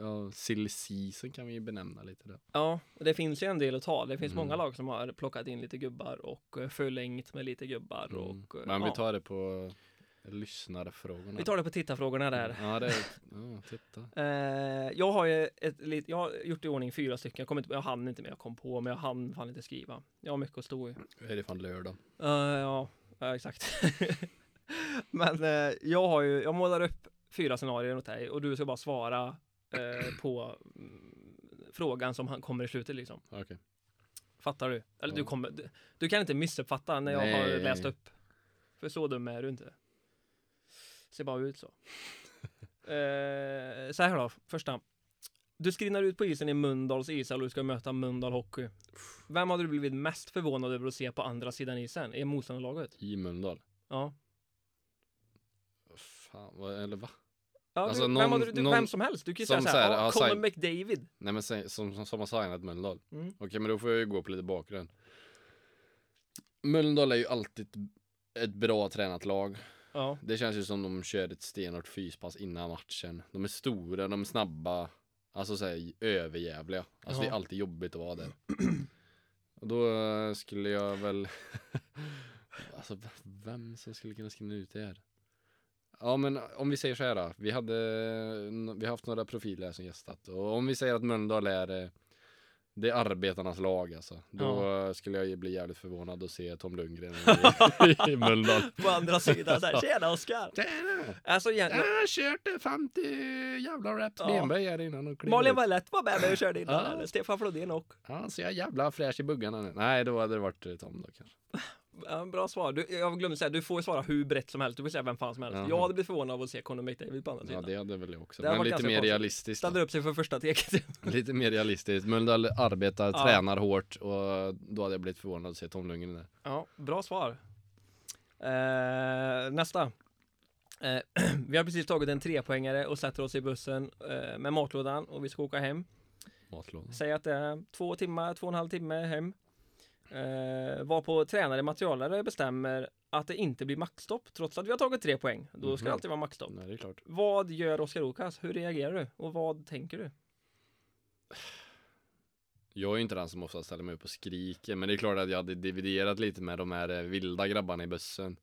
Ja, silly season kan vi ju benämna lite Mm. då Ja, och det finns ju en del att ta. Det finns Mm. många lag som har plockat in lite gubbar och eh, förlängt med lite gubbar. mm. Och, eh, Men vi ja. tar det på Lyssnarfrågorna vi tar det på tittarfrågorna där. Ja, det är, ja, titta Eh, jag har ju ett lit, jag har gjort i ordning fyra stycken. Jag, kom inte, jag hann inte med, jag kom på, men jag hann fan inte skriva. Jag har mycket att stå i. Är det fan lördag? Eh, ja, ja, exakt. men eh, jag har ju, jag målar upp fyra scenarier åt dig och du ska bara svara eh, på mm, frågan som han kommer i slutet liksom. Okej Fattar du? Eller du Ja. kommer, du, du kan inte missuppfatta när jag har Nej. läst upp. För så dum är du inte. Ser bara ut så. eh, så här då, första. Du skrinnar ut på isen i Mölndals ishall och du ska möta Mölndal Hockey. Vem hade du blivit mest förvånad över att se på andra sidan isen? I motståndarlaget? I Mölndal Ja. Fan, vad, eller va? ja Alltså, du, vem, någon- hade du, du, någon- vem som helst. Du kan ju säga som så här, så här, ah, ja, Colin sign- McDavid. Nej men säg- som, som, som har signat Mölndal Mm. Okej men då får jag ju gå på lite bakgrund Mölndal är ju alltid ett- ett bra tränat lag Ja. Det känns ju som de kör ett stenhårt fyspass innan matchen. De är stora, de är snabba. Alltså såhär överjävliga. Alltså det är Ja. alltid jobbigt att vara där. Och då eh, skulle jag väl... alltså v- vem som skulle kunna skriva ut det här? Ja men eh, om vi säger så här då. Vi hade, eh, vi har haft några profiler här som gästat. Och om vi säger att Mölndal är eh, det är arbetarnas lag alltså. Då eh, skulle jag ju bli jävligt förvånad att se Tom Lundgren i, i Mölndal. På andra sidan så här, tjena Oskar! Alltså, Jag egentligen, har kört eh, 50 jävla reps Ja. benböj här innan och klev Malin ut. Wallett var med mig och körde innan, Ja. eller Stefan Flodin och. Ja, så jag är jävla fräsch i buggarna nu. Nej, då hade det varit eh, Tom då kanske. Ja, bra svar. Du, jag glömde säga, du får svara hur brett som helst. Du får säga vem fan som helst. Jaha. Jag hade blivit förvånad av att se Conor McDavid på andra Ja, sidan. det hade väl jag också. Det hade Men varit lite ganska mer konstigt. realistiskt. Ställer upp sig för första teket. då. Lite mer realistiskt. Mölndal arbetar, Ja. tränar hårt och då hade jag blivit förvånad att se Tom Lundgren där. ja, bra svar. Eh, nästa. Eh, vi har precis tagit en trepoängare och sätter oss i bussen eh, med matlådan och vi ska åka hem. Matlådan. Säg att det är två timmar, två och en halv timme hem. Eh, var på tränare materialare bestämmer att det inte blir maxstopp trots att vi har tagit tre poäng. Då ska det Mhm. alltid vara maxstopp. Nej, det är klart. Vad gör Oskar Okas? Hur reagerar du? Och vad tänker du? Jag är ju inte den som ofta ställer mig upp och skriker men det är klart att jag hade dividerat lite med de här eh, vilda grabbarna i bussen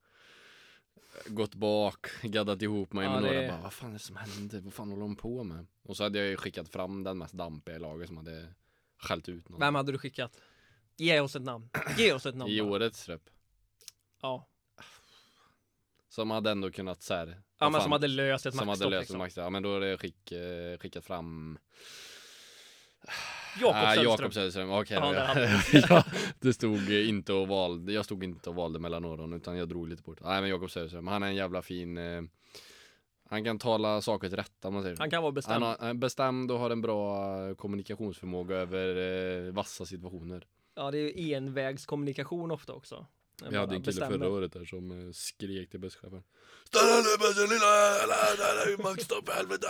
Gått bak, gaddat ihop mig Ja, med det- några bara Vad fan är det som händer? Vad fan håller de på med? Och så hade jag ju skickat fram den mest dampiga i laget som hade skällt ut någon Vem hade du skickat? Ge oss ett namn. Ge oss ett namn. I bara. årets rep Ja. Som hade ändå kunnat såhär vad ja, men fan, som hade löst ett som hade maxstopp. löst Liksom. max, ja men då hade jag skick, eh, skickat fram Jakob Ah, Söderström. Jakob Söderström, okej Ja, då, där ja, hade ja, Det stod eh, inte och valde, jag stod inte och valde mellan åren utan jag drog lite bort Nej men Jakob Söderström, han är en jävla fin eh, Han kan tala saker till rätta om man säger så. Han kan vara bestämd. han har, han är bestämd och har en bra eh, kommunikationsförmåga över eh, vassa situationer Ja, det är ju envägskommunikation ofta också. Vi hade en kille förra året. året där som eh, skrek till busschefen Stanna nu bussen lilla jävla, där är ju maxstopp helvete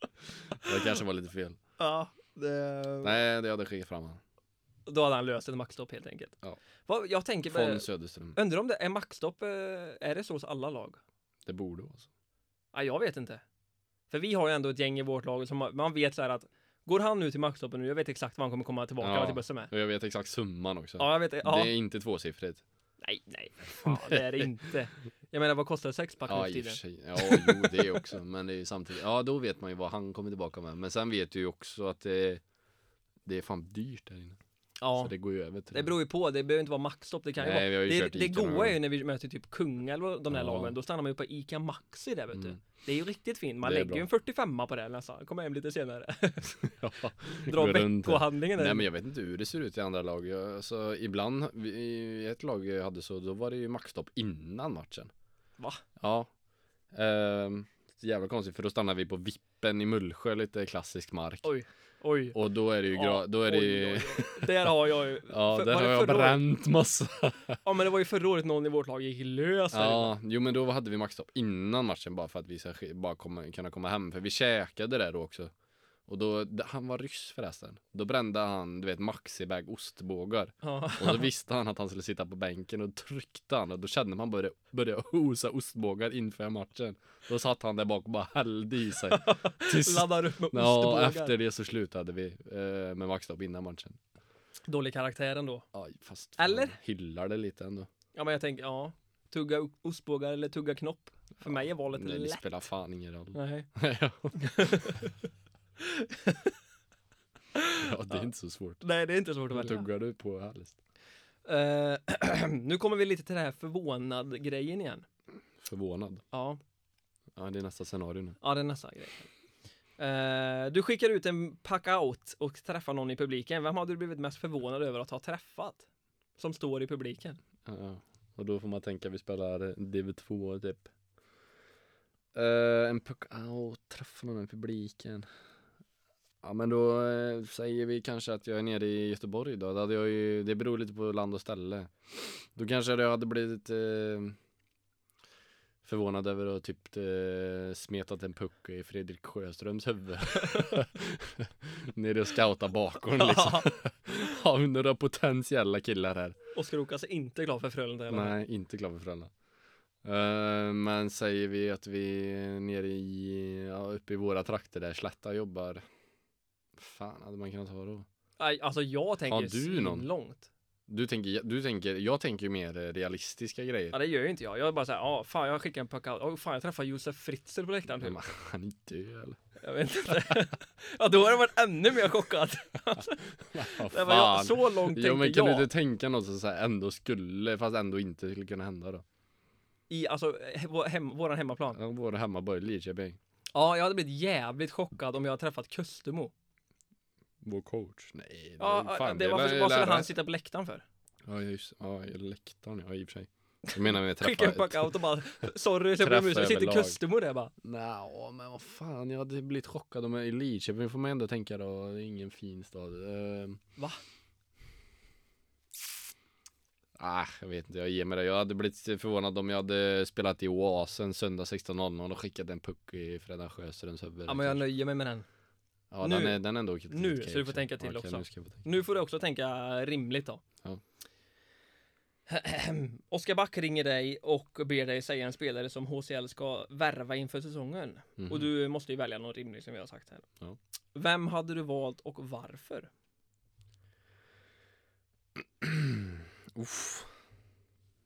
Det kanske var lite fel Ja, det... Nej det hade jag skickat fram han Då hade han löst ett maxstopp helt enkelt. Ja. Vad, jag tänker bara, Von Söderström, undrar om det är maxstopp, eh, är det så hos alla lag? det borde vara så Ja, jag vet inte. För vi har ju ändå ett gäng i vårt lag som har- man vet så här att går han nu till maxstoppen nu, jag vet exakt vad han kommer komma tillbaka Ja. till bussen med. Och jag vet exakt summan också Ja, jag vet. Ja. Det är inte tvåsiffrigt. Nej, nej, för fan, det är det inte. Jag menar, vad kostar sexpack nu Ja, för i och tiden? för sig. Ja, jo, det också. Men det är ju samtidigt. Ja, då vet man ju vad han kommer tillbaka med. Men sen vet du ju också att det, det är fan dyrt där inne. Så Ja, det går ju över till det beror ju på. Det behöver inte vara maxstopp. Det kan Nej, vi har ju ju vara. kört Det, det Ica några goa är ju gånger. när vi möter typ Kunga eller de där Ja. lagen. Då stannar man ju på Ica Maxi där vet du. Mm. Det är ju riktigt fint. Man Det är lägger ju en 45 på det nästan. Kommer hem lite senare. Ja, Dra går runt där. veckohandlingen Nej där. men jag vet inte hur det ser ut i andra lag. Jag- Alltså ibland, vi- i ett lag jag hade så, då var det ju maxstopp innan matchen. Va? Ja. Ehm, så jävla konstigt för då stannar vi på vippen i Mullsjö, lite klassisk mark. Oj, Oj. Och då är det ju, gra- då är det ju, Oj, oj, oj. Där har jag ju. ja För- där var har det jag förra året? bränt massa. Ja men det var ju förra året någon i vårt lag gick lös här inne. Ja, jo men då hade vi maxstopp innan matchen bara för att vi ska sk- bara komma, kunna komma hem för vi käkade där då också Och då, d- han var ryss förresten. Då brände han, du vet, maxibag ostbågar. Ja. Och då visste han att han skulle sitta på bänken och tryckte han och då kände man började, började osa ostbågar inför matchen. Då satt han där bak och bara hällde i sig. Tills, Laddar upp med ja, ostbågar. efter det så slutade vi eh, med maxstopp innan matchen. Dålig karaktär ändå. Aj, fast fan, Eller? hyllar det lite ändå. Ja men jag tänker, ja. Tugga o- ostbågar eller tugga knopp. För mig är valet Nej, det liksom- lätt. spelar fan ingen roll. Nej. ja, det är inte så svårt. Nej, det är inte svårt att välja. Tuggar du på härligt? Eh, nu kommer vi lite till den här förvånad-grejen igen. Förvånad. Ja, Ja, det är nästa scenario nu. ja det är nästa grej. Eh, du skickar ut en pack-out och träffar någon i publiken. Vem hade du blivit mest förvånad över att ha träffat? Som står i publiken. Ja, ja. och då får man tänka vi spelar eh, Div 2 typ. Eh, en puck, au, träffa någon i publiken. Ja men då eh, säger vi kanske att jag är nere i Göteborg då. Det, hade jag ju, det beror lite på land och ställe. Då kanske jag hade blivit eh, förvånad över att typ eh, smetat en puck i Fredrik Sjöströms huvud. nere och scoutat bakom liksom. Har vi några potentiella killar här? Oskar Okas är alltså inte glad för Frölunda. eller? Nej, inte Klaverfrölunda. Uh, men säger vi att vi är nere i, ja, uppe i våra trakter där Slätta jobbar. Fan hade man kunnat ha då? Nej, alltså jag tänker Har du någon? långt. Du tänker, du tänker, jag tänker ju mer eh, realistiska Ja grejer. det gör ju inte jag. Jag är bara såhär, ja fan jag skickar en pack-out. Åh, fan jag träffar Josef Fritzl på läktaren typ. Men Han är död eller? Jag vet inte. ja då har jag varit ännu mer chockad. Vad Det var jag, fan. så långt Jo men tänkte kan jag. du inte tänka något som så här ändå skulle, fast ändå inte skulle kunna hända då? I alltså he- vår hem, våran hemmaplan. Ja, Vår hemmaborg Lidköping. Ja jag hade blivit jävligt chockad om jag hade träffat Kustermo. Vår coach? Nej, det, Ja, ja, det, varför, lär- vad skulle lärare. han sitta på läktaren för? Ja just ja, läktaren ja i och för sig. Jag menar med Skicka en pack-out och bara, sorry jag ber om Träffa ursäkt. Sitter överlag. Kustermo där bara. Nja, men vad fan, jag hade blivit chockad om jag i Lidköping får man ändå tänka då, det är ingen fin stad. Ehm, Va? Ah, jag vet inte, jag ger mig det. Jag hade blivit förvånad om jag hade spelat i Oasen söndag 16.00 och skickat en puck i Fredan Sjöströms huvud. Ja men jag nöjer mig med den. ja, nu- den är, den är ändå okej. nu, okej, så du får okej. tänka till Okej, också. Nu ska jag få tänka. Nu får du också tänka rimligt då. Ja. Oskar Back ringer dig och ber dig säga en spelare som HCL ska värva inför säsongen. Mhm. Och du måste ju välja någon rimlig som vi har sagt här. Ja. Vem hade du valt och varför? Uff.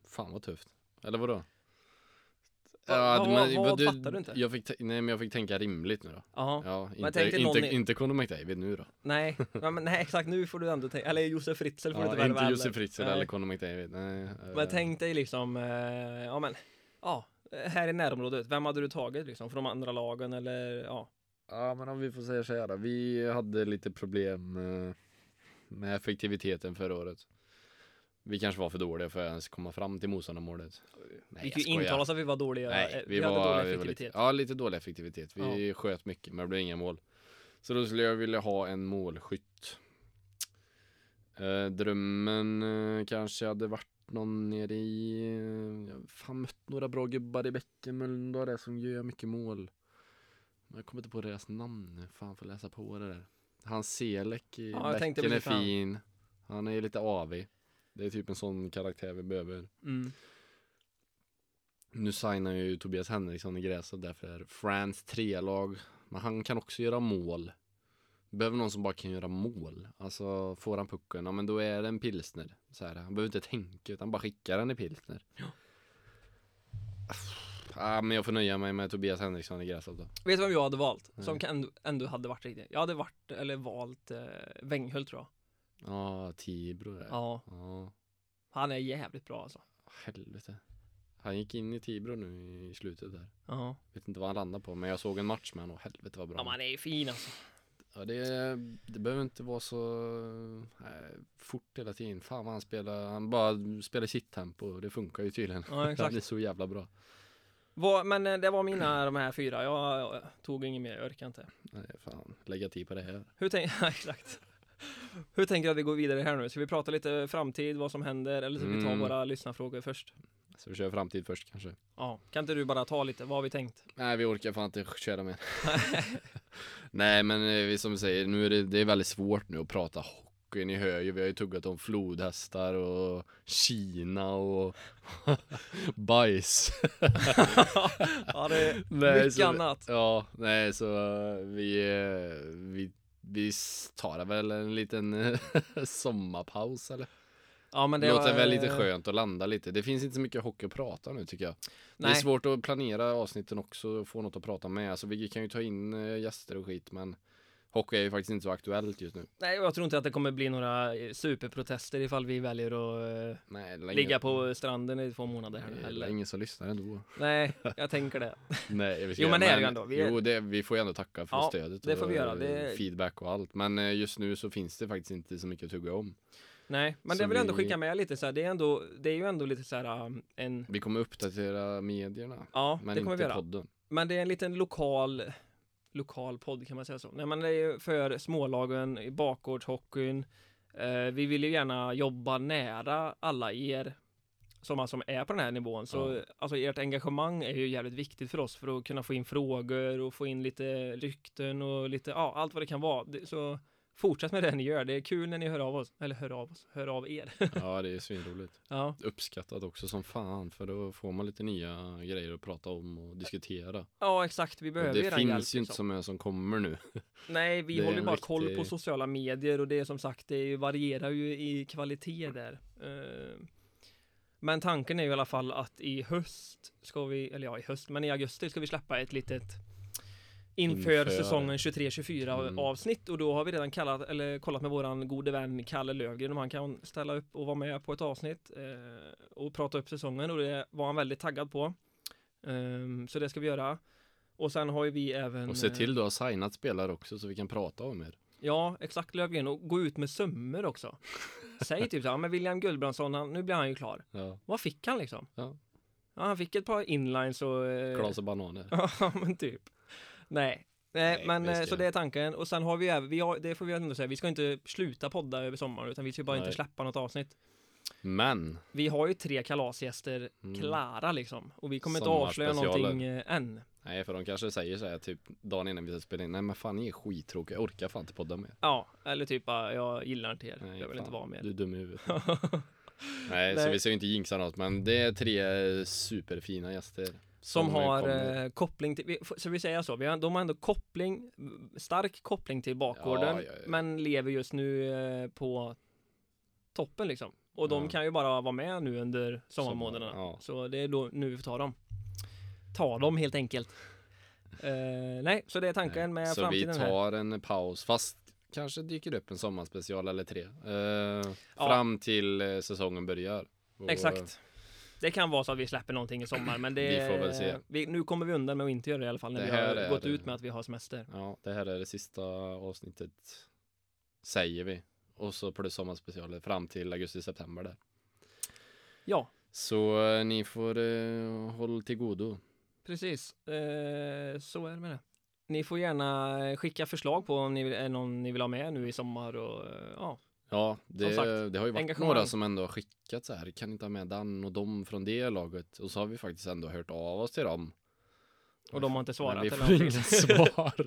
Fan vad tufft. Eller vadå? Va- Ja, vad- men- vad du- fattar du inte? Jag fick, te- nej men jag fick tänka rimligt nu då. Jaha, Ja, Men inte, tänk dig någon inte, i- inte Conor McDavid nu då. nej, ja, men nej exakt nu får du ändå tänka, eller Josef Fritzl får du inte Ja, värva inte heller. Josef Fritzl Nej. eller Conor McDavid. Nej, eh, Men tänk dig liksom, eh, ja men, ja, här i närområdet, vem hade du tagit liksom från de andra lagen eller ja? Ja, men om vi får säga så här då. Vi hade lite problem eh, med effektiviteten förra året. Vi kanske var för dåliga för att ens komma fram till motståndarmålet. Nej, vi jag kan ju skojar. intala oss att vi var dåliga, eh, Nej, vi, hade var, dålig vi var effektivitet. lite, ja, lite dålig effektivitet. Vi sköt mycket, men det blev inga mål. Så då skulle jag vilja ha en målskytt. Eh, drömmen eh, kanske hade varit någon nere i... Eh, jag har fan mött några bra gubbar i Bäckemöln då, det som gör mycket mål. Men jag kommer inte på deras namn nu. Fan, får läsa på det där. Han Selek i Ja, jag tänkte Bäcken är precis på han. fin. Han är ju lite avig. Det är typ en sån karaktär vi behöver. Mm. Nu signar ju Tobias Henriksson i gräset därför är France tre-lag. Men han kan också göra mål. Behöver någon som bara kan göra mål. Alltså får han pucken, ja men då är det en pilsner. Så här, han behöver inte tänka utan bara skickar den i pilsner. Ja. Ah, men jag får nöja mig med Tobias Henriksson i gräset då. Vet du vem jag hade valt? Som Nej. kan ändå, ändå hade varit riktigt. Jag hade varit, eller valt eh, Wenghult tror jag. Ja, Tibro där. Ja. Ja, han är jävligt bra alltså. helvete. Han gick in i Tibro nu i slutet där. Ja, Vet inte vad han landade på, men jag såg en match med honom och helvete vad bra ja han men han är ju fin alltså. Ja, det, det behöver inte vara så eh, fort hela tiden. Fan vad han spelar, han bara spelar i sitt tempo och det funkar ju tydligen. Ja, exakt. Det är så jävla bra. Vad- men eh, det var mina, de här fyra. Jag eh, tog inget mer, jag orkar inte. Nej, fan, lägga tid på det här. Hur tänker, ja, exakt. Hur tänker du att vi går vidare här nu? Ska vi prata lite framtid, vad som händer? Eller ska vi ta Mm. våra lyssnarfrågor först? Så vi kör framtid först kanske. Ja, kan inte du bara ta lite, vad har vi tänkt? Nej vi orkar fan inte köra mer. Nej men eh, vi- som du säger, nu är det, det är väldigt svårt nu att prata hockey. Ni hör ju, vi har ju tuggat om flodhästar och Kina och bajs. ja, det, Nej, Mycket så, annat. Ja, nej så eh, vi, eh, vi, vi tar väl en liten eh, sommarpaus eller? ja men Det det låter var- eh, väl lite skönt att landa lite. Det finns inte så mycket hockey att prata om nu tycker jag. Nej, Det är svårt att planera avsnitten också och få något att prata med. Alltså, vi kan ju ta in eh, gäster och skit men hockey är ju faktiskt inte så aktuellt just nu. nej, och jag tror inte att det kommer bli några eh, superprotester ifall vi väljer att eh, Nej, det är ligga ingen- på stranden i två månader. det är Här, eller? ingen som lyssnar ändå. Nej, jag tänker det. Nej, vi Jo, men det är det ju ändå. Vi Vi är- Jo, det, vi får ju ändå tacka för Ja, stödet det får vi och göra. Det- feedback och allt. Men eh, just nu så finns det faktiskt inte så mycket att tugga om. Nej, men Så det vill jag ändå vi- skicka med lite så här, det är, ändå, det är ju ändå lite så här um, en Vi kommer uppdatera medierna. Ja, Men det kommer vi inte göra. podden. Men det är en liten lokal lokal podd kan man säga så. Nej men det är ju för smålagen, i bakgårdshockeyn. Eh, vi vill ju gärna jobba nära alla er som alltså är på den här nivån. Så Ja. alltså ert engagemang är ju jävligt viktigt för oss för att kunna få in frågor och få in lite rykten och lite, ja allt vad det kan vara. Det- Så fortsätt med det ni gör. Det är kul när ni hör av oss, eller hör av oss, hör av er. Ja, det är svinroligt. ja. Uppskattat också som fan för då får man lite nya grejer att prata om och diskutera. ja, exakt. Vi Och behöver det eran finns hjälp, ju inte liksom. så många som kommer nu. Nej, vi Det är håller ju en bara koll riktig- på sociala medier och det är som sagt, det är ju- varierar ju i kvalitet där. Eh, Men tanken är ju i alla fall att i höst ska vi, eller ja i höst, men i augusti ska vi släppa ett litet inför, Inför. säsongen 23-24 Mm. avsnitt och då har vi redan kallat, eller kollat med våran gode vän Kalle Lövgren om han kan ställa upp och vara med på ett avsnitt eh, och prata upp säsongen och det var han väldigt taggad på. Eh, så det ska vi göra. Och sen har ju vi även Och se eh, till du har signat spelare också så vi kan prata om er. Ja, exakt Löfgren och gå ut med sömmer också. Säg typ så här, men William Gullbrandsson, han, nu blir han ju klar. Ja, Vad fick han liksom? Ja. Ja, han fick ett par inlines och... eh, glas och bananer. Ja, men typ. Nej. Nej, Nej, men vi eh, ska- så det är tanken. Och sen har vi även, vi har, det får vi ändå säga, vi ska inte sluta podda över sommaren utan vi ska bara Nej. inte släppa något avsnitt. Men, Vi har ju tre kalasgäster Mm. klara liksom och vi kommer inte avslöja Sommarspecialer. någonting eh, än. nej för de kanske säger så här typ dagen innan vi ska spela in. Nej men fan ni är skittråkiga, jag orkar fan inte podda mer. Ja, eller typ bara, jag gillar inte er, Nej, jag vill fan, inte vara med. Du är dum i huvudet. nej, så Nej. vi ska ju inte jinxa något men det är tre eh, superfina gäster. Som har kommer- eh, koppling till, vi- f- så vi säger så, vi har, de har ändå koppling, m, stark koppling till bakgården, Ja, ja, ja. men lever just nu eh, på toppen liksom. Och de Ja. kan ju bara vara med nu under sommarmånaderna. Sommar, ja. Så det är då nu vi får ta dem. Ta dem helt enkelt. Eh, nej, så det är tanken med Eh, Så vi framtiden här. tar en paus fast kanske dyker det upp en sommarspecial eller tre. Eh, Ja. Fram till eh, säsongen börjar. Och, eh, Exakt. Det kan vara så att vi släpper någonting i sommar, men det, Vi får väl se. vi, nu kommer vi undan med att inte göra det i alla fall när Det vi här har är- gått ut med att vi har semester. Ja, det här är det sista avsnittet säger vi. Och så plus sommarspecialer fram till augusti-september där. Ja, Så eh, ni får eh, hålla till godo. Precis, eh, så är det med det. Ni får gärna eh, skicka förslag på om ni vill, är någon ni vill ha med nu i sommar och eh, ja. Ja, det, Som sagt, det har ju varit engagemang. några som ändå har skickat så här. Kan ni ta med Dan och dem från det laget? Och så har vi faktiskt ändå hört av oss till dem. Och de har inte svarat. Men vi eller får någonting. inga svar.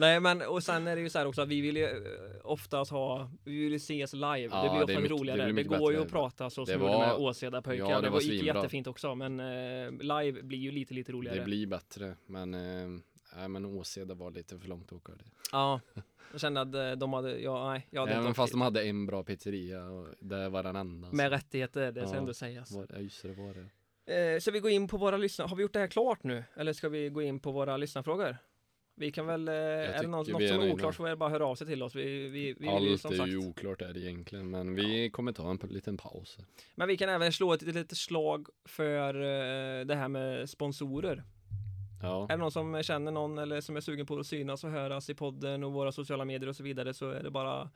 Nej men och sen är det ju så här också att vi vill ju eh, oftast ha, vi vill ju ses live. Ja, det blir det är ofta mycket- roligare. det Det, blir mycket går ju bättre. att prata så Det som vi gjorde var- med Åseda pojkar. Ja, det det, var gick svinbra. jättefint också men eh, live blir ju lite lite roligare. det blir bättre. Men, eh, nej, men Åseda var lite för långt att åka. dit. Ja. Jag kände att eh, de hade, ja nej, jag hade Även inte åkt fast dit. de hade en bra pizzeria. Och det var den enda. Med rättigheter, det ska Ja. ändå sägas. Var, ja, just det, det var det. Eh, så vi går in på våra lyssnare. Har vi gjort det här klart nu? Eller ska vi gå in på våra lyssnarfrågor? Vi kan väl, eh, är det tycker något, vi något är som är nöjda. oklart så är det bara att höra av sig till oss. Vi, vi, vi vill ju Allt som är sagt. ju oklart är det egentligen, men vi kommer ta en p- liten paus. här. Men vi kan även slå ett litet slag för eh, det här med sponsorer. Ja, Är det någon som känner någon eller som är sugen på att synas och höras i podden och våra sociala medier och så vidare så är det bara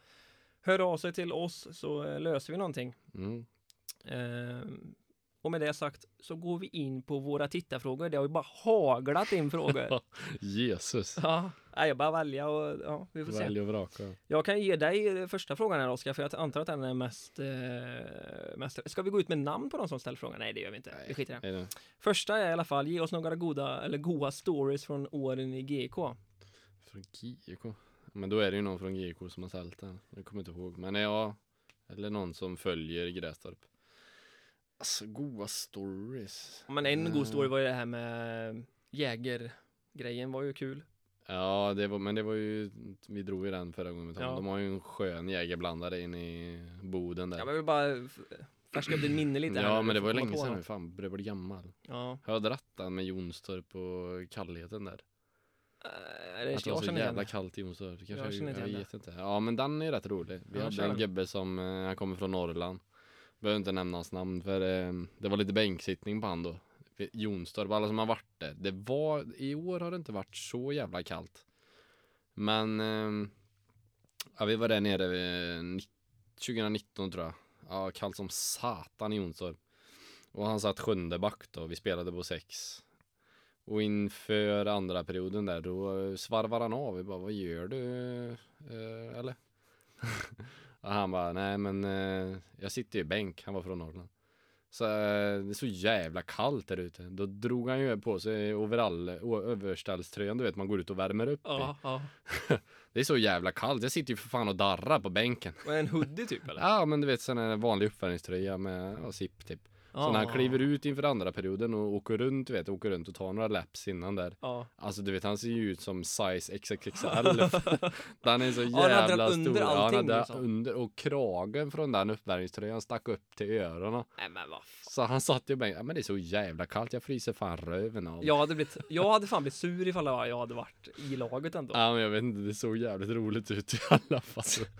hör av sig till oss så eh, löser vi någonting. mm. Eh, Och med det sagt så går vi in på våra tittarfrågor. Det har ju bara haglat in frågor. Jesus. ja, nej, jag bara välja och ja, vi får se. Välj och vraka. Jag kan ge dig första frågan här Oskar, för jag antar att den är mest, eh, mest... Ska vi gå ut med namn på de som ställer frågan? Nej, det gör vi inte. Vi skiter i det. Är det? Första är i alla fall, ge oss några goda, eller goa stories från åren i GK. Från GIK? Men då är det ju någon från GIK som har sålt den. Jag kommer inte ihåg. Men ja, eller någon som följer Grästorp. Alltså goa stories. Men en Eh, god story var ju det här med jägergrejen var ju kul. Ja, det var, men det var ju, vi drog ju den förra gången vi talade. Ja. De har ju en skön jägerblandare in i Boden där. Ja, men jag vill bara f- färska upp ditt minne lite. här Ja, när men det får var ju komma länge på sedan den. nu, fan börjar bli gammal. Ja, Har jag dratt den med Jonstorp och kallheten där? Eh, det Att det ska var jag så känna igen. jävla kallt i Jonstorp. Det Jag Kanske känner jag, inte jag, igen vet inte. Ja, men den är rätt rolig. Vi Ja, hade kör en den. gubbe som, eh, han kommer från Norrland. Behöver inte nämna hans namn för eh, det var lite bänksittning på han då. Jonstorp, alla som har varit där. Det var, i år har det inte varit så jävla kallt. Men eh, ja, vi var där nere vid ni- 2019 tror jag. Ja, kallt som satan i Jonstorp. Och han satt sjunde back då, vi spelade på sex. Och inför andra perioden där då svarvar han av. Vi bara, vad gör du? Eh, eller? och han bara, nej men eh, jag sitter ju i bänk. Han var från Norrland. Så eh, det är så jävla kallt där ute. Då drog han ju på sig overall, o- överställströjan du vet man går ut och värmer upp i. Ja, ja. Det är så jävla kallt. Jag sitter ju för fan och darrar på bänken. Och en hoodie typ eller? Ja men du vet sån här vanlig uppvärmningströja med ja, zipp typ. Så när Ah. han kliver ut inför andra perioden och åker runt, du vet, åker runt och tar några laps innan där. Ja. Alltså du vet, han ser ju ut som size XXXL. den är så Ja, han hade jävla den stor. under ja, han allting, hade liksom. under och kragen från den uppvärmningströjan stack upp till öronen. Nej men vad fan. Så han satt ju och bänkte, ja men det är så jävla kallt, jag fryser fan röven av. Jag hade, blivit, jag hade fan blivit sur ifall jag hade varit i laget ändå. Ja men jag vet inte, det såg jävligt roligt ut i alla fall.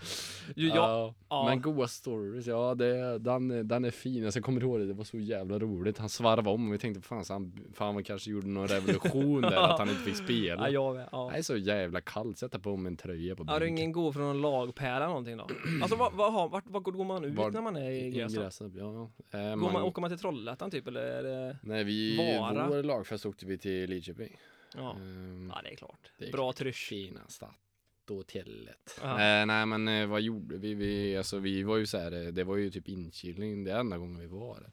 Jo, jag- ja, ja. Men goa stories, ja det, den, är- den är fin. Alltså, jag kommer ihåg det, det var så jävla roligt. Han svarvade om och vi tänkte fan, så han, fan man kanske gjorde någon revolution där att han inte fick spela. Ja, jag med. Ja. Det är så jävla kallt, sätta på mig en tröja på Har du bänken. ingen god från någon lagpära någonting då? Alltså vad, vad, har- vart, vart går man ut Var- när man är i Grästorp? Ingräsen, ja. Eh, alltså. Går man, man, åker man till Trollhättan typ eller? Är det... Nej vi, Vara? vår lagfest åkte vi till Lidköping. Ja. Ehm, ja, det är klart. det är Bra trysch. Kina statt hotellet. Ja. Eh, nej men eh, vad gjorde vi? vi? Alltså vi var ju så här, eh, det var ju typ inkilning det är enda gången vi var där.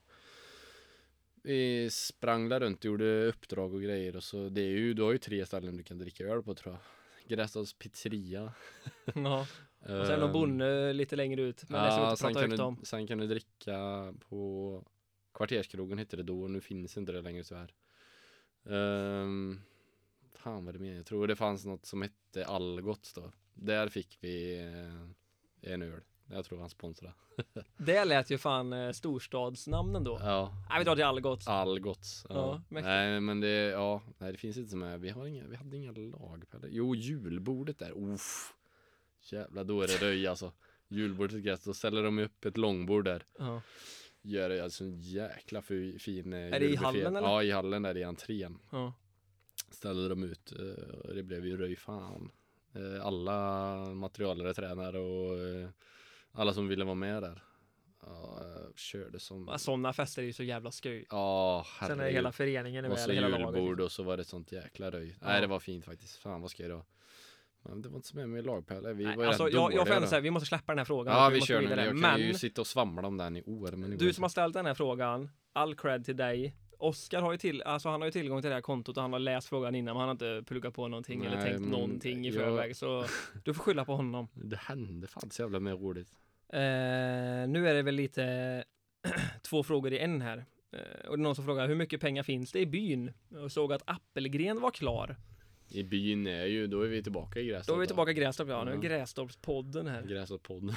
Vi sprang där runt och gjorde uppdrag och grejer och så det är ju, du har ju tre ställen du kan dricka öl på tror jag. Grästorps pizzeria. Ja. Och sen någon Ehm, bonde lite längre ut. Men det ska vi ja, inte sen, prata kan högt du, om. sen kan du dricka på Kvarterskrogen hette det då och nu finns inte det längre tyvärr. Um, fan vad det mer, jag tror det fanns något som hette Algots då. Där fick vi eh, en öl. Jag tror han sponsrade. Det lät ju fan eh, storstadsnamnen då. Ja. Nej, vi drar till Algots. Algots. Ja. Ja, mäktigt. nej men det, ja, nej det finns inte som är, vi, har inga, vi hade inga lag på det. Jo, julbordet där, uff. Jävlar, då är det röj alltså. Julbordet, gräs, då ställer de upp ett långbord där. Ja. gör det alltså en jäkla fi- fin eh, Är det i julbuffé. hallen, eller? Ja, i hallen där i entrén Ja. ställde de ut eh, och det blev ju röj fan. Eh, Alla materialare, tränare och eh, alla som ville vara med där ja, eh, körde som... Ja, Sådana fester är ju så jävla skoj. Ja, Sen är herregud. hela föreningen är Och med, så eller hela laget. julbord liksom. och så var det ett sånt jäkla röj. Ja. Nej, det var fint faktiskt. Fan vad skoj det var. Men det var inte så med mig i lagpelle. Vi var Nej, ju alltså, rätt jag, dåliga jag får ändå då. säga, vi måste släppa den här frågan. Ja, och vi måste gå kör den. vidare. Jag kan Men ju sitta och svamla om den i år. Men det går du inte. som har ställt den här frågan, all cred till dig. Oskar har ju, till, alltså han har ju tillgång till det här kontot och han har läst frågan innan men han har inte pluggat på någonting eller Nej, tänkt men någonting i jag- förväg så du får skylla på honom. Det hände fan så jävla med roligt. Eh, nu är det väl lite två frågor i en här. Eh, och det är någon som frågar hur mycket pengar finns det i byn? Och såg att Appelgren var klar. I byn är ju, då är vi tillbaka i Grästorp. Då är vi tillbaka i Grästorp, ja. Nu är Ja. Grästorpspodden här. Grästorp-podden.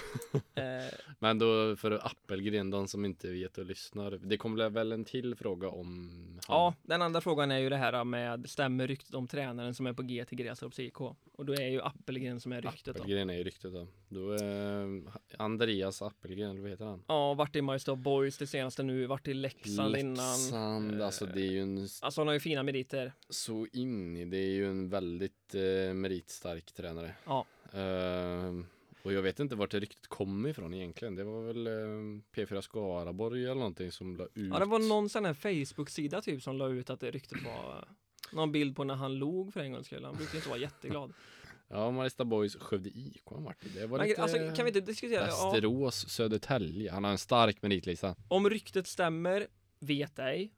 Eh, Men då för Appelgren, de som inte vet och lyssnar. Det kommer väl en till fråga om han? Ja, den andra frågan är ju det här med stämmer ryktet om tränaren som är på G till Grästorps IK? Och då är ju Appelgren som är ryktet då. Appelgren är ju ryktet då. Då är Andreas Appelgren, eller vad heter han? Ja, varit i Mariestad Boys det senaste nu, varit i Leksand innan. Leksand, alltså det är ju en s- Alltså han har ju fina meriter. så in i, det är ju en väldigt eh, meritstark tränare. Ja. Ehm, Och jag vet inte vart det riktigt kom ifrån egentligen. Det var väl eh, P4 Skaraborg eller någonting som la ut. Ja, det var någon sån här Facebook-sida typ som la ut att det ryktet var eh, någon bild på när han log för en gångs skull. Han brukar inte vara jätteglad. Ja, Marista Boys Skövde IK han vart det. Det var Men, lite alltså, kan vi inte diskutera? Ja, Västerås, Södertälje. Han har en stark meritlista. om ryktet stämmer, vet ej.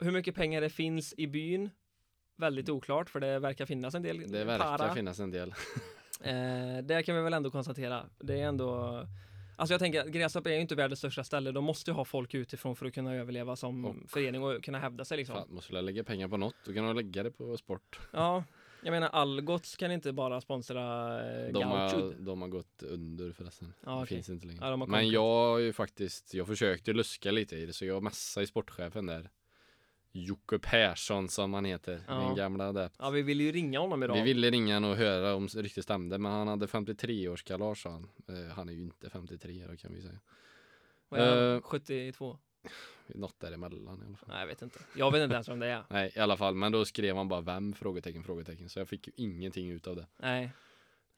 Hur mycket pengar det finns i byn? Väldigt oklart, för det verkar finnas en del Det verkar para. finnas en del. Eh, det kan vi väl ändå konstatera. Det är ändå Alltså jag tänker att Grästorp är ju inte världens största ställe. De måste ju ha folk utifrån för att kunna överleva som Och- förening och kunna hävda sig liksom. Fan, måste jag lägga pengar på något? Då kan de lägga det på sport. Ja, jag menar Algots kan inte bara sponsra eh, De Gauchud. har, de har gått under förresten. Ja, det okej. finns inte längre. Ja, de har Men kommit. jag har ju faktiskt, jag försökte luska lite i det så jag messade i sportchefen där. Jocke Persson som han heter, Ja. min gamla där. Ja, vi ville ju ringa honom idag. Vi ville ringa honom och höra om det riktigt stämde men han hade 53 års kalas sa han. Eh, Han är ju inte 53 då kan vi säga. Vad är han? eh, 72? Något däremellan i alla fall. Nej, jag vet inte. Jag vet inte ens vem det är. Nej i alla fall men då skrev han bara vem? Frågetecken frågetecken så jag fick ju ingenting ut av det. Nej,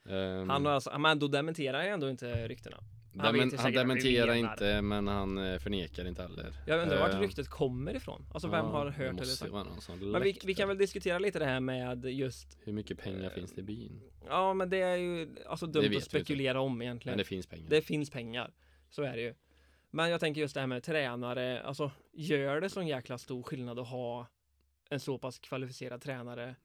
Ehm, han har alltså, men då dementerar jag ändå inte ryktena. han vet ju demen, säkert han att vi dementerar menar. inte men han eh, förnekar inte heller. Jag undrar vart Ehm, ryktet kommer ifrån. Alltså vem ja, har det hört eller måste sagt? vara någon som Men vi, läckt vi kan det. väl diskutera lite det här med just Hur mycket pengar finns det i byn? Ja, men det är ju alltså Det dumt vet att vi spekulera om Men egentligen. det Det, finns pengar. finns pengar, så är det ju. Men jag tänker just det här med tränare, alltså gör det sån jäkla stor skillnad att ha en så pass kvalificerad tränare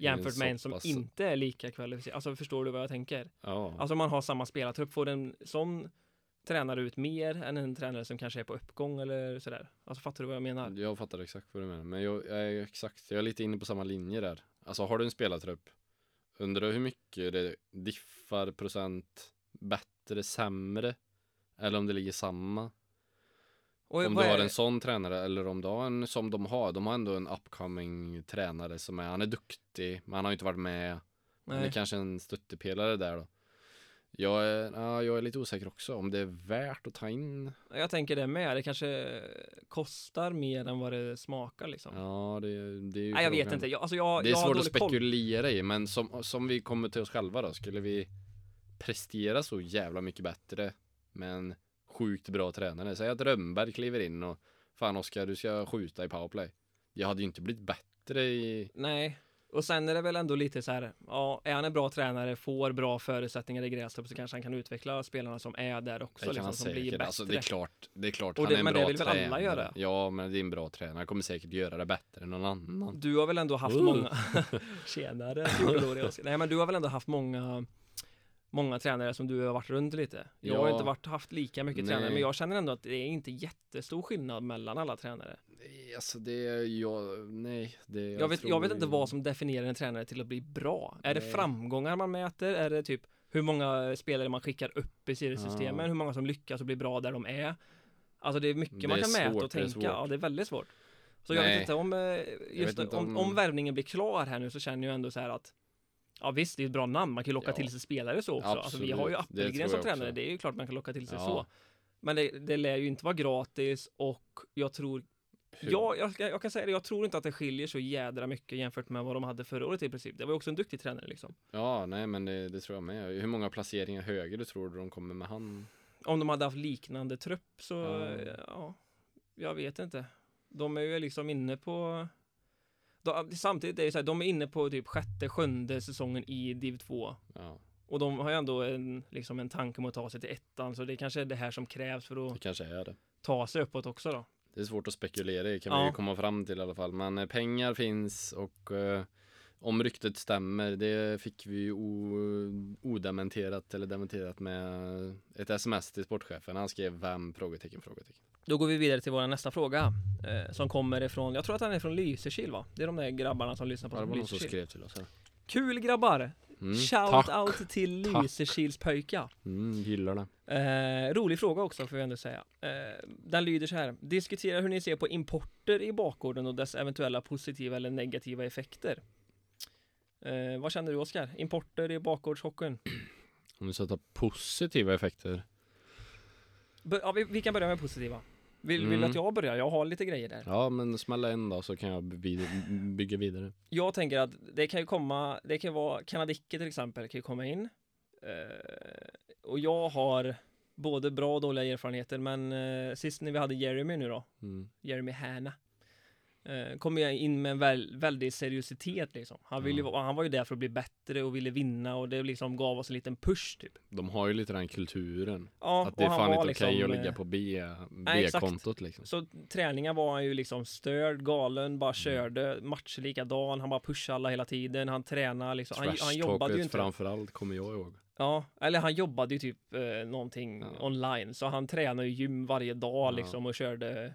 jämfört så med en som pass- inte är lika kvalificerad? Alltså förstår du vad jag tänker? Ja. Alltså om man har samma spelartrupp, får en sån tränare ut mer än en tränare som kanske är på uppgång eller sådär? Alltså fattar du vad jag menar? Jag fattar exakt vad du menar. Men jag, jag, är exakt, jag är lite inne på samma linje där. Alltså har du en spelartrupp, undrar hur mycket det diffar procent bättre, sämre? Eller om det ligger samma. Och om vad du är har det? en sån tränare eller om du har en som de har. De har ändå en upcoming tränare som är, han är duktig, men han har ju inte varit med. Han är Nej. kanske en stöttepelare där då. Jag är, ja, jag är lite osäker också om det är värt att ta in. Jag tänker det med, det kanske kostar mer än vad det smakar liksom. Ja, det, det är ju Nej, jag vet frågan. inte. Jag, alltså jag, Det är jag har svårt att dålig koll. spekulera i, men som, som vi kommer till oss själva då, skulle vi prestera så jävla mycket bättre med en sjukt bra tränare? Säg att Rönnberg kliver in och fan Oskar, du ska skjuta i powerplay. Jag hade ju inte blivit bättre i... Nej. Och sen är det väl ändå lite så här, ja, är han en bra tränare, får bra förutsättningar i Grästorp så kanske han kan utveckla spelarna som är där också, Det kan liksom, han som blir säkert. bättre. Alltså, det är klart, det är klart Och han det- är en men bra det vill väl alla tränare. göra? Ja, men det är en bra tränare. Han kommer säkert göra det bättre än någon annan. Du har väl ändå haft Uh. många... Tjenare, jordlår i oss. Nej, men du har väl ändå haft många Många tränare som du har varit runt lite. Jag har Ja. inte varit, haft lika mycket Nej. tränare, men jag känner ändå att det är inte jättestor skillnad mellan alla tränare. Nej, Alltså det, är- jag, nej. Det, Jag, vet, jag tror vet inte ju- vad som definierar en tränare till att bli bra. Är det Nej. framgångar man mäter? Är det typ hur många spelare man skickar upp i seriesystemen? Ja. Hur många som lyckas och blir bra där de är? Alltså det är mycket Det man är kan mäta svårt, och det är tänka. svårt. Ja, det är väldigt svårt. Så jag vet Nej. inte om, eh, just vet inte om, om... om- värvningen blir klar här nu så känner jag ändå så här att Ja visst, det är ett bra namn. Man kan ju locka Ja. till sig spelare så också. Alltså, vi Absolut, har ju det tror Appelgren jag som också. tränare. Det är ju klart man kan locka till sig Ja. så. Men det, det lär ju inte vara gratis och jag tror Hur- Ja, jag, ska- jag kan säga det. Jag tror inte att det skiljer så jädra mycket jämfört med vad de hade förra året i princip. Det var ju också en duktig tränare liksom. Ja, nej men det, det tror jag med. Hur många placeringar högre tror du de kommer med han? Om de hade haft liknande trupp så, Ja. eh, ja, jag vet inte. De är ju liksom inne på... De, samtidigt är det ju så här, de är inne på typ sjätte, sjunde säsongen i div 2. Ja, Och de har ju ändå en, liksom en tanke om att ta sig till ettan, så det kanske är det här som krävs för det att kanske är det. ta sig uppåt också då. Det är svårt att spekulera i kan Ja. vi ju komma fram till i alla fall. Men eh, pengar finns och eh, om ryktet stämmer, det fick vi ju o- odementerat eller dementerat med ett sms till sportchefen. Han skrev vem? Frågetecken, frågetecken. Då går vi vidare till vår nästa fråga eh, som kommer ifrån, jag tror att han är från Lysekil va? Det är de där grabbarna som lyssnar Det på var någon som Lysekil. skrev till oss här. Kul grabbar! Mm, Shout tack! out till Tack. Lysekils pojkar. Mm, gillar det. Eh, rolig fråga också får jag ändå säga. Eh, den lyder så här. Diskutera hur ni ser på importer i bakgården och dess eventuella positiva eller negativa effekter. Eh, vad känner du Oskar? Importer i bakgårdshockeyn? Om vi ska ta positiva effekter. Bör- Ja, vi, vi kan börja med positiva. Vill, vill du Mm. att jag börjar? Jag har lite grejer där. Ja, men smälla en då så kan jag vid- bygga vidare. Jag tänker att det kan ju komma, det kan ju vara kanadicker till exempel kan ju komma in. Eh, och jag har både bra och dåliga erfarenheter, men eh, sist när vi hade Jeremy nu då, Mm. Jeremy Hanna, eh, kom jag in med en väl, väldig seriositet liksom. Han, ville, Ja. vara- han var ju där för att bli bättre och ville vinna och det liksom gav oss en liten push typ. De har ju lite den kulturen. Ja, att det är och han fan var inte okej liksom, att ligga eh, på B, nej, exakt. B-kontot liksom. Så träningen var han ju liksom störd, galen, Mm. bara körde, matcher likadan, han bara pushade alla hela tiden, han tränade liksom. Han, han jobbade ju Trash-talket inte. framförallt kommer jag ihåg. Ja, eller han jobbade ju typ eh, någonting Ja. online, så han tränade ju gym varje dag Ja. liksom och körde.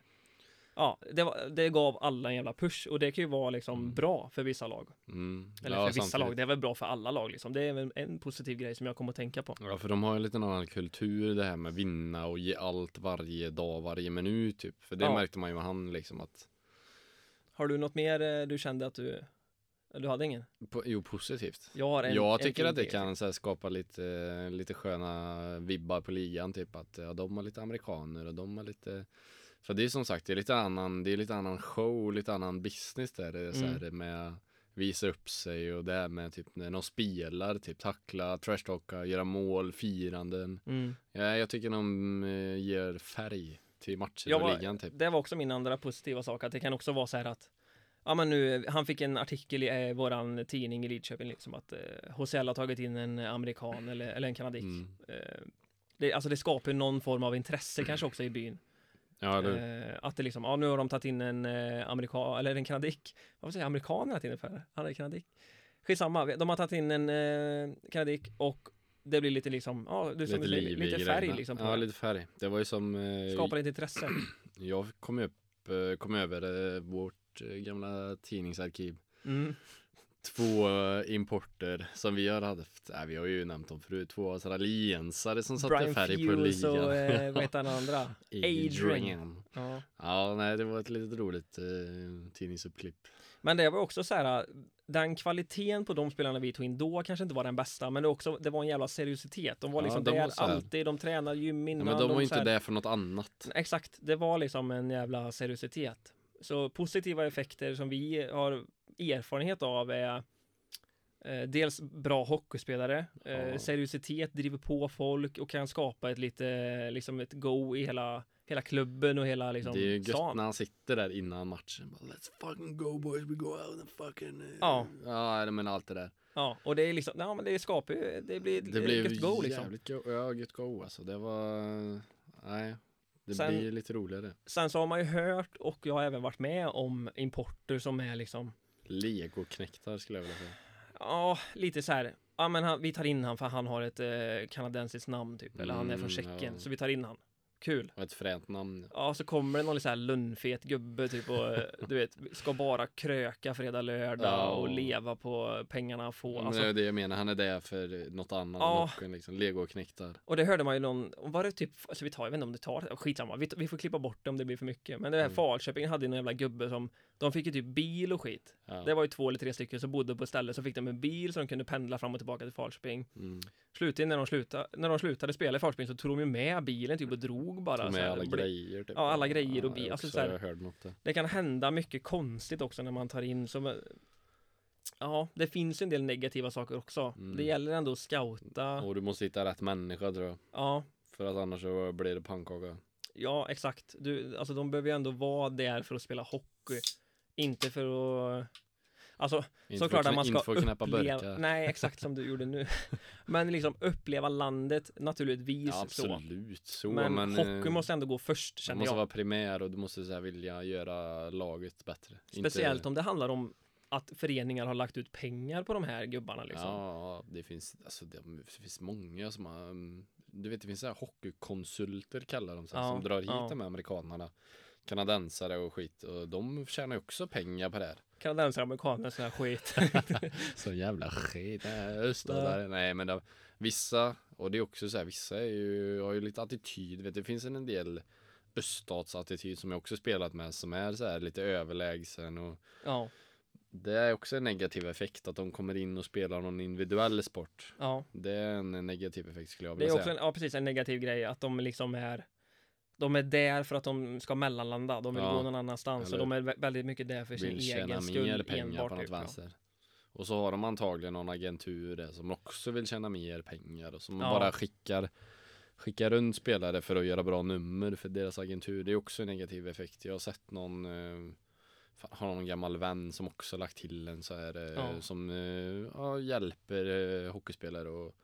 Ja, det, var, det gav alla en jävla push och det kan ju vara liksom Mm. bra för vissa lag. Mm. Eller Ja, för vissa samtidigt. lag, det är väl bra för alla lag liksom. Det är väl en positiv grej som jag kommer att tänka på. Ja, för de har ju lite annan kultur det här med vinna och ge allt varje dag, varje minut typ. För det Ja. märkte man ju med han liksom att, Har du något mer eh, du kände att du, du hade ingen? po- jo positivt. Jag har en. jag en tycker till att det grej. kan så här, skapa lite, eh, lite sköna vibbar på ligan typ att ja, de har lite amerikaner och de har lite För det är som sagt, det är lite annan, det är lite annan show, lite annan business där det är så Mm. här med visa upp sig och det här med typ när de spelar, typ tackla, trashtalka, göra mål, firanden. Mm. Ja, jag tycker de eh, ger färg till matcher Jag och var- ligan typ. Det var också min andra positiva sak, att det kan också vara så här att Ja men nu, han fick en artikel i eh, våran tidning i Lidköping liksom att eh, HCL har tagit in en amerikan eller, eller en kanadick. Mm. Eh, det, alltså det skapar ju någon form av intresse kanske också i byn. Ja, eller hur? Eh, att det liksom, ja nu har de tagit in en eh, amerikan, eller en kanadick. Varför säger jag amerikan hela tiden för? Han är kanadick. Skitsamma, de har tagit in en eh, kanadick och det blir lite liksom, ja du som lite lite, liv i lite färg grejerna. liksom. På Ja, det. lite färg. Det var ju som eh, Skapar lite intresse. jag kom upp, eh, kom över eh, vårt eh, gamla tidningsarkiv. Mm. Två eh, importer som vi har haft, nej, vi har ju nämnt dem förut, två australiensare som satte Brian färg på Fuse ligan. och eh, vad heter han andra? Adrian. Ja. Ja, nej, det var ett litet roligt eh, tidningsuppklipp. Men det var också så här, den kvaliteten på de spelarna vi tog in då kanske inte var den bästa, men det, också, det var en jävla seriositet. De var Ja, liksom de där var så här- alltid, de tränade gym Ja, innan. men de var ju så inte här- där för något annat. Exakt, det var liksom en jävla seriositet. Så positiva effekter som vi har erfarenhet av är eh, dels bra hockeyspelare, eh, Ja. seriositet, driver på folk och kan skapa ett lite, liksom ett go i hela, hela klubben och hela liksom, det är ju gött stan. när han sitter där innan matchen. Bara, Let's fucking go boys, we go out and fucking... eh." Ja. Ja, men allt det där. Ja, och det är liksom, ja men det skapar ju, det blir Det blev ett go liksom. jävligt go, ja, gött go alltså. Det var, nej. Det Sen- blir lite roligare. Sen så har man ju hört och jag har även varit med om importer som är liksom, Legoknektar skulle jag vilja säga. ja, lite så här, ja men han, vi tar in han för han har ett eh, kanadensiskt namn typ, eller han är från Mm, ja. Tjeckien, så vi tar in han. Kul. Och ett fränt namn. Ja, så kommer det någon så här lunnfet gubbe typ och eh, du vet, ska bara kröka fredag, lördag Ja. Mm, och leva på pengarna han får. Men Alltså, det är det jag menar, han är där för något annat än Ja. hockeyn liksom. Legoknektar. Och det hörde man ju någon, och var det typ, alltså vi tar, jag vet inte om det tar, skitsamma, vi, vi får klippa bort det om det blir för mycket. Men det här Mm. Falköping hade ju någon jävla gubbe som, de fick ju typ bil och skit. Ja. Det var ju två eller tre stycken som bodde på ett ställe, så fick de en bil så de kunde pendla fram och tillbaka till Falköping. Mm. Slutligen när de slutade, när de slutade spela i Falköping så tog de ju med bilen typ och drog bara. Mm. Tog så med här, alla bli- grejer typ. Ja, alla grejer och bi- jag alltså, också så här- hörde något där. Det kan hända mycket konstigt också när man tar in som eh, Ja, det finns ju en del negativa saker också. Mm. Det gäller ändå att scouta. Och du måste hitta rätt människa tror jag. Ja, För att annars så blir det pannkaka. ja exakt. Du, alltså de behöver ju ändå vara där för att spela hockey. Inte för att... Alltså, Inte såklart för att att man inte ska för att knäppa burkar. uppleva... Nej, exakt som du gjorde nu. Men liksom uppleva landet naturligtvis. Ja, så. absolut så. men, hockey eh, måste ändå gå först, Du känner måste jag. vara primär och du måste så här vilja göra laget bättre. Speciellt om det handlar om att föreningar har lagt ut pengar på de här gubbarna liksom. Ja, det finns, alltså, det, det finns många som har, mm, du vet det finns så här hockeykonsulter kallar de sig, Ja, som drar hit ja. de här amerikanerna. Kanadensare och skit och de tjänar ju också pengar på det här. kanadensare, amerikaner, sån här skit. Så jävla skit, äh, öststatare. Nej men det, vissa, och det är också så här, vissa är ju, har ju lite attityd, vet, det finns en del öststatsattityd som jag också spelat med som är så här lite överlägsen och ja, Det är också en negativ effekt att de kommer in och spelar någon individuell sport. ja. Det är en negativ effekt skulle jag Det är vilja också säga. en, ja, precis, en negativ grej att de liksom är de är där för att de ska mellanlanda, de vill Ja, gå någon annanstans och eller- de är vä- väldigt mycket där för sin Vill tjäna egen mer skull pengar enbart. på något typ, ja. vänster. Och så har de antagligen någon agentur där som också vill tjäna mer pengar och som Ja. bara skickar Skickar runt spelare för att göra bra nummer för deras agentur. Det är också en negativ effekt. Jag har sett någon eh, fan, Har någon gammal vän som också lagt till en så här eh, Ja. som eh, ja, hjälper eh, hockeyspelare och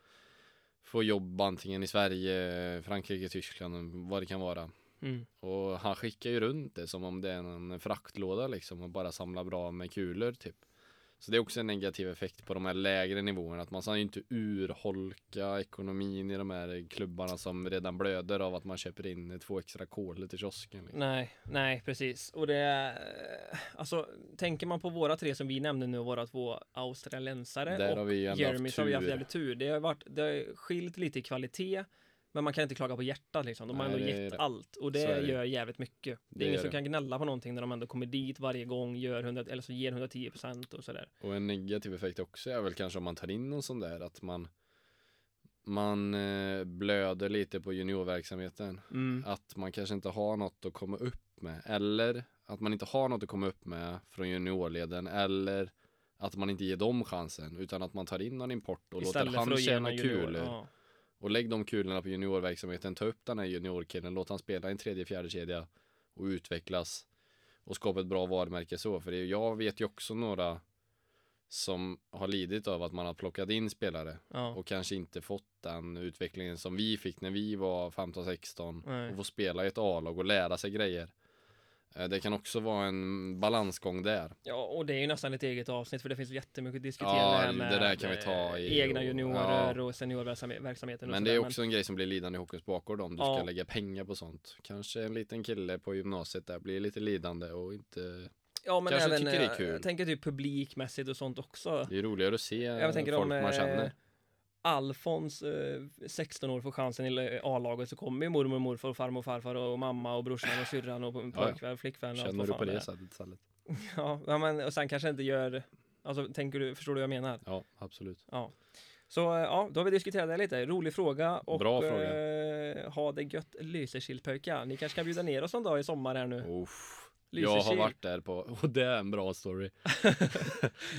Få jobb antingen i Sverige, Frankrike, Tyskland, vad det kan vara. Mm. Och han skickar ju runt det som om det är en fraktlåda liksom och bara samlar bra med kulor typ. Så det är också en negativ effekt på de här lägre nivåerna att man ska ju inte urholka ekonomin i de här klubbarna som redan blöder av att man köper in två extra kolor till kiosken. Liksom. Nej, nej precis. Och det är, alltså tänker man på våra tre som vi nämnde nu, våra två australiensare Där har och vi ju ändå Jeremy haft så har vi haft tur. jävligt tur. Det har, varit, det har skilt lite i kvalitet, men man kan inte klaga på hjärtat liksom. De har Nej, ändå det är gett det. allt och det, Så är det. gör jävligt mycket. Det är Det ingen gör som det. kan gnälla på någonting när de ändå kommer dit varje gång, gör 100, eller så ger 110 procent och sådär. Och en negativ effekt också är väl kanske om man tar in någon sån där att man man eh, blöder lite på juniorverksamheten. Mm. att man kanske inte har något att komma upp med eller att man inte har något att komma upp med från juniorleden eller att man inte ger dem chansen utan att man tar in någon import och Istället låter för han att ge tjäna någon junior. kulor Ja. och lägg de kulorna på juniorverksamheten ta upp den här juniorkillen låt han spela i en tredje fjärde kedja och utvecklas och skapa ett bra varumärke så för det, jag vet ju också några som har lidit av att man har plockat in spelare Ja. och kanske inte fått den utvecklingen som vi fick när vi var 15-16 Nej. och få spela i ett A-lag och lära sig grejer. Eh, Det kan också vara en balansgång där. ja, och det är ju nästan ett eget avsnitt för det finns jättemycket att diskutera Ja, här det med där kan vi ta i- egna och- juniorer ja. och seniorverksamheten. Och Men sådär, det är också en grej som blir lidande i hockeyns bakgård om du Ja. ska lägga pengar på sånt. Kanske en liten kille på gymnasiet där blir lite lidande och inte... Ja men Kanske även, tycker det är eh, kul. jag tänker typ publikmässigt och sånt också. Det är roligare att se Jag tänker folk om eh, man känner. Alfons, eh, 16 år, får chansen i eh, A-laget så kommer ju mormor och morfar och farmor och farfar och mamma och brorsan och syrran och ja. pojkvän, flickvän och allt Känner vad du fan på är. det sättet istället? Ja, ja, men och sen kanske inte gör, alltså tänker du, förstår du vad jag menar? Ja, absolut. Ja. Så eh, ja, då har vi diskuterat det lite. Rolig fråga och Bra fråga. Eh, ha det gött Lysekilpojkar. Ni kanske kan bjuda ner oss någon dag i sommar här Oh. nu. Uff. Jag har Lysekil. varit där på, och det är en bra story.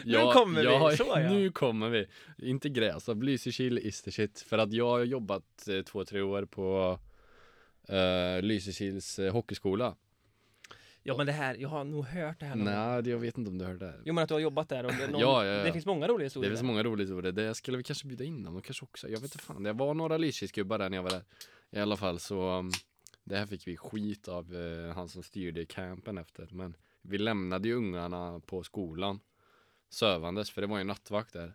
Nu kommer vi, så ja. Nu kommer vi. Inte Gräsarp, Lysekil is the shit. För att jag har jobbat eh, två, tre år på eh, Lysekils eh, hockeyskola. Ja men det här, jag har nog hört det här någon gång. Nej, det- jag vet inte om du hörde det. här. Jo men att du har jobbat där och det, är någon, Ja, ja, ja. det finns många roliga Det historier. finns där. många roliga historier. Det skulle vi kanske bjuda in dem. De kanske också, jag vet inte fan. Det var några Lysekilsgubbar där när jag var där. I alla fall så, um, det här fick vi skit av eh, han som styrde campen efter. Men vi lämnade ju ungarna på skolan sövandes, för det var ju nattvakt där.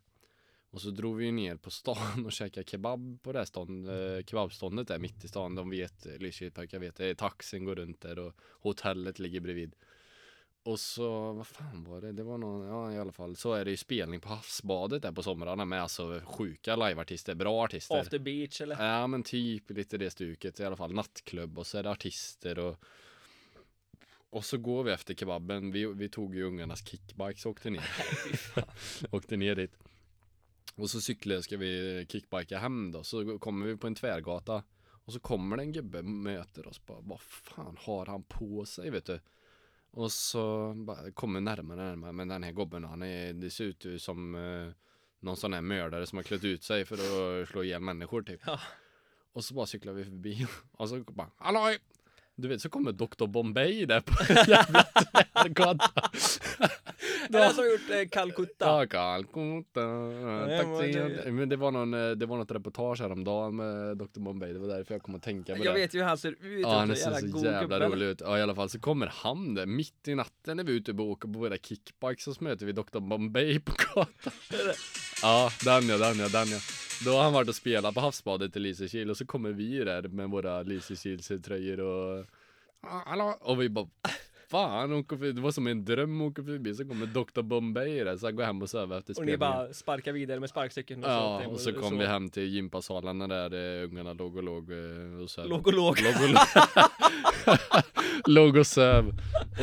Och så drog vi ju ner på stan och käkade kebab på det här stånd, eh, kebabståndet där mitt i stan. De vet, eh, Lysekilspojkar vet, det. taxin går runt där och hotellet ligger bredvid. Och så, vad fan var det? Det var någon, ja i alla fall, så är det ju spelning på havsbadet där på somrarna med alltså sjuka liveartister, bra artister. After beach eller? Ja men typ lite det stuket i alla fall nattklubb och så är det artister och och så går vi efter kebaben, vi, vi tog ju ungarnas kickbikes och åkte ner Åkte ner dit Och så cyklade ska vi kickbika hem då, så kommer vi på en tvärgata Och så kommer det en gubbe, möter oss bara, vad fan har han på sig vet du? Och så bara, kommer närmare närmare, men den här gubben han är, det ser ut ju som eh, någon sån här mördare som har klätt ut sig för att slå ihjäl människor typ Ja. och så bara cyklar vi förbi och så bara Halloj! Du vet så kommer Dr Bombay där på jävla tvärgatan. Det är han som har gjort eh, Calcutta. Ja, Calcutta, taxi. Men det var, någon, eh, det var något reportage häromdagen med Dr Bombay. Det var därför jag kom att tänka på Jag det. vet ju typ hur han ser ut. Ja, han också, ser så god jävla gubbe. rolig ut. Ja, i alla fall så kommer han där mitt i natten när vi är ute och åker på våra kickbikes så möter vi Dr. Bombay på gatan. Ja, den ja, den ja, den ja. Då har han varit och spelat på havsbadet i Lysekil och så kommer vi där med våra Lysekilströjor och... Ja, Hallå! Och vi bara... Fan, hon kom förbi. det var som en dröm hon kom förbi. Så kommer Dr. Bombay där, så han går hem och sover Och efter ni spelningen. bara sparkar vidare med sparkcykeln och Ja, sånt. och så kom vi hem till gympasalarna där eh, ungarna låg och låg eh, och söv. Låg och låg. Låg och, låg och söv.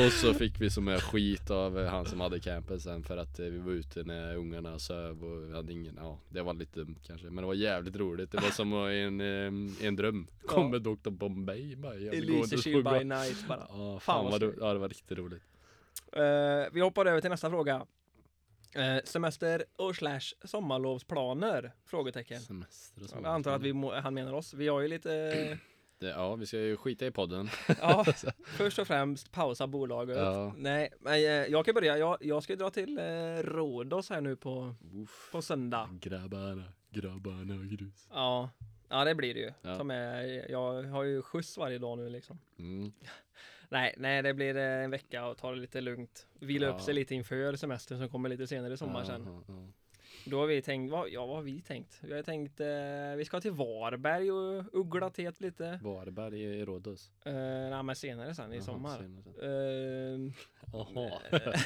Och så fick vi som är skit av eh, han som hade campen sen för att eh, vi var ute när ungarna söv och vi hade ingen, ja det var lite dumt kanske men det var jävligt roligt. Det var som att i en, eh, en dröm. Kommer Dr Bombay bara. Jag vill gå inte Elise och Shield gå. by night bara. Ja, Fan, fan vad vad skoj. roligt. Ja, det var riktigt roligt. Eh, vi hoppar över till nästa fråga. Eh, semester och slash sommarlovsplaner? Frågetecken. Semester och Jag antar att vi må, han menar oss. Vi har ju lite... eh, Det, ja, vi ska ju skita i podden. Ja, först och främst pausa bolaget. Ja. Nej, men eh, jag kan börja. Jag, jag ska ju dra till eh, Rhodos här nu på, Uff. på söndag. Grabbarna, grabbarna och grus. Ja, ja det blir det ju. Ja. Som är, jag har ju skjuts varje dag nu liksom. Mm. Nej, nej, det blir eh, en vecka och ta det lite lugnt. Vila upp Ja. sig lite inför semestern som kommer lite senare i sommar sen. Ja, ja, ja. Då har vi tänkt, vad, ja vad har vi tänkt? Vi har tänkt, eh, vi ska till Varberg och uggla Mm. teet lite. Varberg i Rhodos. Eh, nej men senare sen i Jaha, sommar. senare. Eh, Jaha.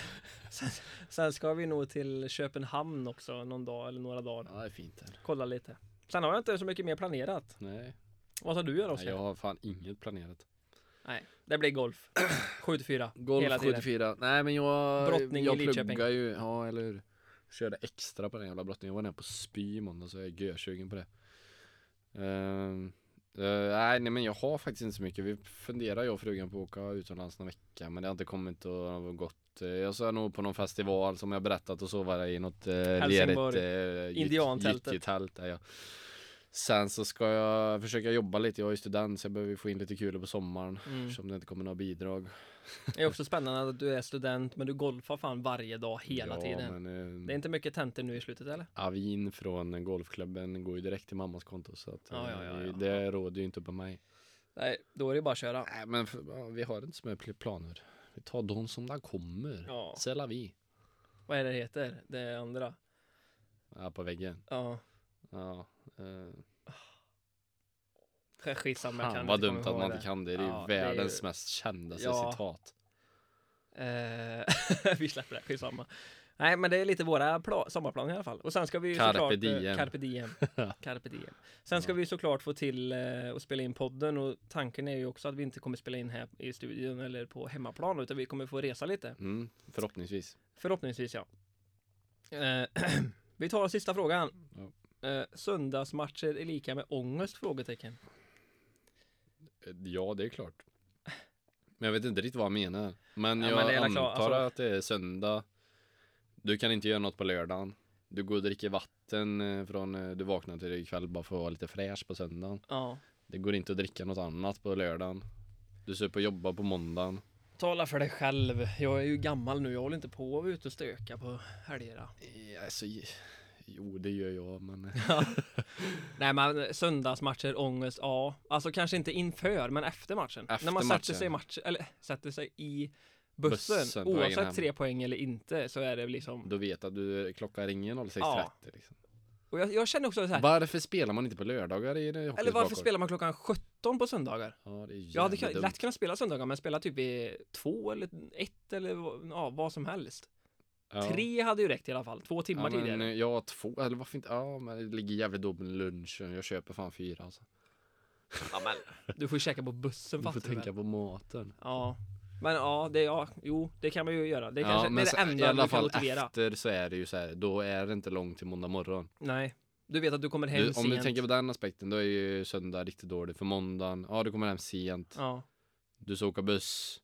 sen, sen ska vi nog till Köpenhamn också någon dag eller några dagar. Ja, det är fint här. Kolla lite. Sen har jag inte så mycket mer planerat. Nej, Vad ska du göra nej, Oskar? jag har fan inget planerat. Nej, det blir golf. 7-4. hela Golf tiden. 74. Nej, men jag, Brottning i jag Lidköping. pluggar ju. Ja, eller hur. Körde extra på den jävla brottningen. Jag var nere på spy i måndag så jag är görsugen på det. Ehm, eh, nej, nej, men jag har faktiskt inte så mycket. Vi funderar jag och frugan på att åka utomlands någon vecka, men det har inte kommit och gått. Eh, Jag ska nog på någon festival som jag berättat och sova i något eh, Helsingborg. lerigt eh, Indiantältet. gyttjetält. Ja. Sen så ska jag försöka jobba lite. Jag är ju student så jag behöver ju få in lite kul på sommaren Mm. eftersom det inte kommer några bidrag. Det är också spännande att du är student men du golfar fan varje dag hela ja, tiden. Men, Det är eh, inte mycket tentor nu i slutet eller? avin från golfklubben går ju direkt till mammas konto så att, Ja, ja, ja, eh, ja. det råder ju inte på mig. Nej, då är det bara att köra. Nej men för, ja, vi har inte så mycket pl- planer. Vi tar de som där kommer. Ja. C'est la vie. Vad är det det heter? Det andra? Ja, på väggen. Ja, Ja. eh, skitsamma. jag fan kan vad inte dumt komma att man ihåg inte kan det. Det är Ja, ju det är ju- världens mest kända Ja. citat. Eh, vi släpper det, skitsamma. Nej, men det är lite våra pla- sommarplaner i alla fall. Och sen ska vi ju Carpe såklart... eh, diem. Carpe diem. Carpe diem. Sen ska Ja. vi ju såklart få till eh, och spela in podden och tanken är ju också att vi inte kommer spela in här i studion eller på hemmaplan utan vi kommer få resa lite. Mm, förhoppningsvis. Förhoppningsvis ja. Eh, vi tar sista frågan. Ja. Eh, söndagsmatcher är lika med ångest? Frågetecken. Eh, Ja, det är klart. Men jag vet inte riktigt vad han menar. Men Ja, jag men det är väl antar klart, alltså- att det är söndag. Du kan inte göra något på lördagen. Du går och dricker vatten eh, från eh, du vaknar till ikväll bara för att vara lite fräsch på söndagen. Ja. Det går inte att dricka något annat på lördagen. Du ser på jobba på måndagen. Tala för dig själv. Jag är ju gammal nu. Jag håller inte på att vara ute och stöka på helgerna. Eh, Alltså, j- jo, det gör jag, men Nej men söndagsmatcher, ångest, ja. Alltså kanske inte inför men efter matchen. Efter När man sätter matchen. sig i matchen, eller sätter sig i bussen. Bussen på vägen hem. oavsett tre poäng eller inte så är det liksom. då vet att du eh, klockan ringer 06.30. Liksom. Och jag, jag känner också så här. Varför spelar man inte på lördagar i det eller varför spelar man klockan 17 på söndagar? Ja, det är Jag hade jävligt kun- dumt. lätt kunnat spela söndagar men spela typ i två eller ett eller vad- ja, vad som helst. Ja. Tre hade ju räckt i alla fall, två timmar ja, men, tidigare. eh, Ja, två, eller varför inte? Ja, men det ligger jävligt dumt med lunchen. Jag köper fan fyra alltså. Ja, men, du får ju käka på bussen Du får fattar du väl? tänka på maten. Ja. Men ja, det, ja, jo, det kan man ju göra. Det, kanske, det är men det så- enda I du alla kan fall motivera. efter så är det ju så här, då är det inte långt till måndag morgon. Nej, du vet att du kommer hem Du, om sent. du tänker på den aspekten, då är ju söndag riktigt dålig. För måndagen, ja du kommer hem sent. Ja, Du ska åka buss.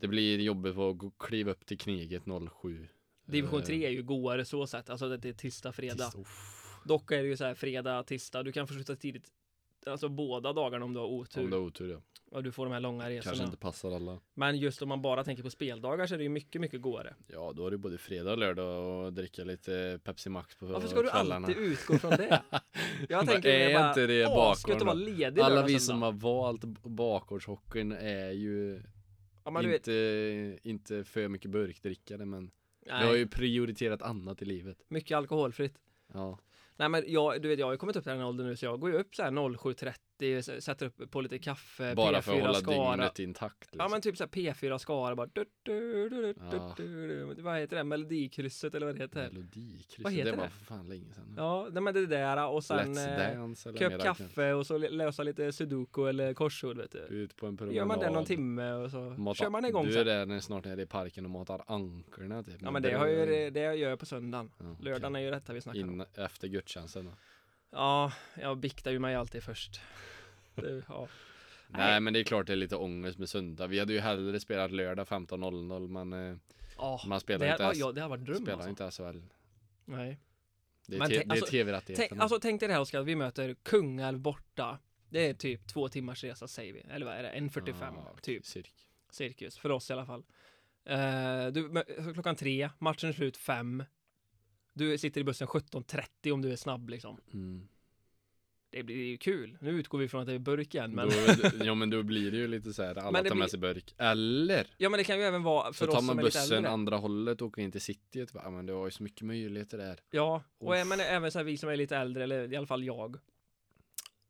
Det blir jobbigt att gå- kliva upp till Kneget 07. division Eh, 3 är ju goare så sätt, alltså att det är tisdag, fredag. tis- uff, Dock är det ju så här fredag, tisdag, du kan få sluta tidigt. Alltså båda dagarna om du har otur Om du har otur ja. och du får de här långa resorna. Kanske inte passar alla. Men just om man bara tänker på speldagar så är det ju mycket, mycket goare. Ja, då är det både fredag och lördag och dricka lite Pepsi Max på Varför ska du kvällarna. alltid utgå från det? Jag tänker är det bara, inte det "Åh, ska bakgården inte vara då?" ledig liksom, Alla lördag, vi söndag? som har valt b- bakgårdshockeyn är ju Ja, men du vet, inte, inte för mycket burkdrickare men vi har nej, ju prioriterat annat i livet. mycket alkoholfritt. Ja, Nej men jag, du vet jag har ju kommit upp till den åldern nu så jag går ju upp så här 07.30, s- sätter upp på lite kaffe, Eh, bara för att hålla Skara. dygnet intakt. Ja Liksom. men typ så här P4 Skara bara du, du, du, du, Ja. Mm. du, du, du. Vad heter det? Melodikrysset eller vad det heter? Melodikrysset, Vad heter det var det? för fan länge sedan. Ja, nej, men det där och sen Let's eh, Dance eller köp mera kaffe och så lö- lösa lite sudoku eller korsord vet knä- du. Ut på en promenad. Gör man det någon timme och så Mata- kör man igång Du är sen. där när snart är i parken och matar ankorna typ. Ja men det, har ju, det, det jag gör på söndagen. Ja, okej. Lördagen är ju detta vi snackar om. In, efter gudstjänsten då. Ja, jag biktar ju mig alltid först. Det, ja. Nej men det är klart det är lite ångest med söndag. Vi hade ju hellre spelat lördag 15.00 men eh, Ja, man det, spelar här, inte ja, ens, ja, det här var en dröm alltså. spelar inte SHL. Nej. Det är, Men tänk- te- det är alltså, Tänk, tv-rättigheterna. alltså tänk dig det här Oskar, vi möter Kungälv borta. Det är typ två timmars resa säger vi, eller vad är det? 1.45 Ja, typ, Cirk. cirkus. För oss i alla fall. Eh, du, mö- så klockan tre, matchen är slut fem. Du sitter i bussen 17.30 om du är snabb liksom. Mm. Det blir ju kul. Nu utgår vi från att det är burk igen, men... Men... Då, ja men då blir det ju lite så här, alla Men det tar blir- med sig burk. Eller Ja men det kan ju även vara för så tar oss man som är lite bussen äldre. andra hållet och åker in till city. Typ. Ja, men det var ju så mycket möjligheter där. Ja, och Uff. är, men även så här, vi som är lite äldre, eller i alla fall jag.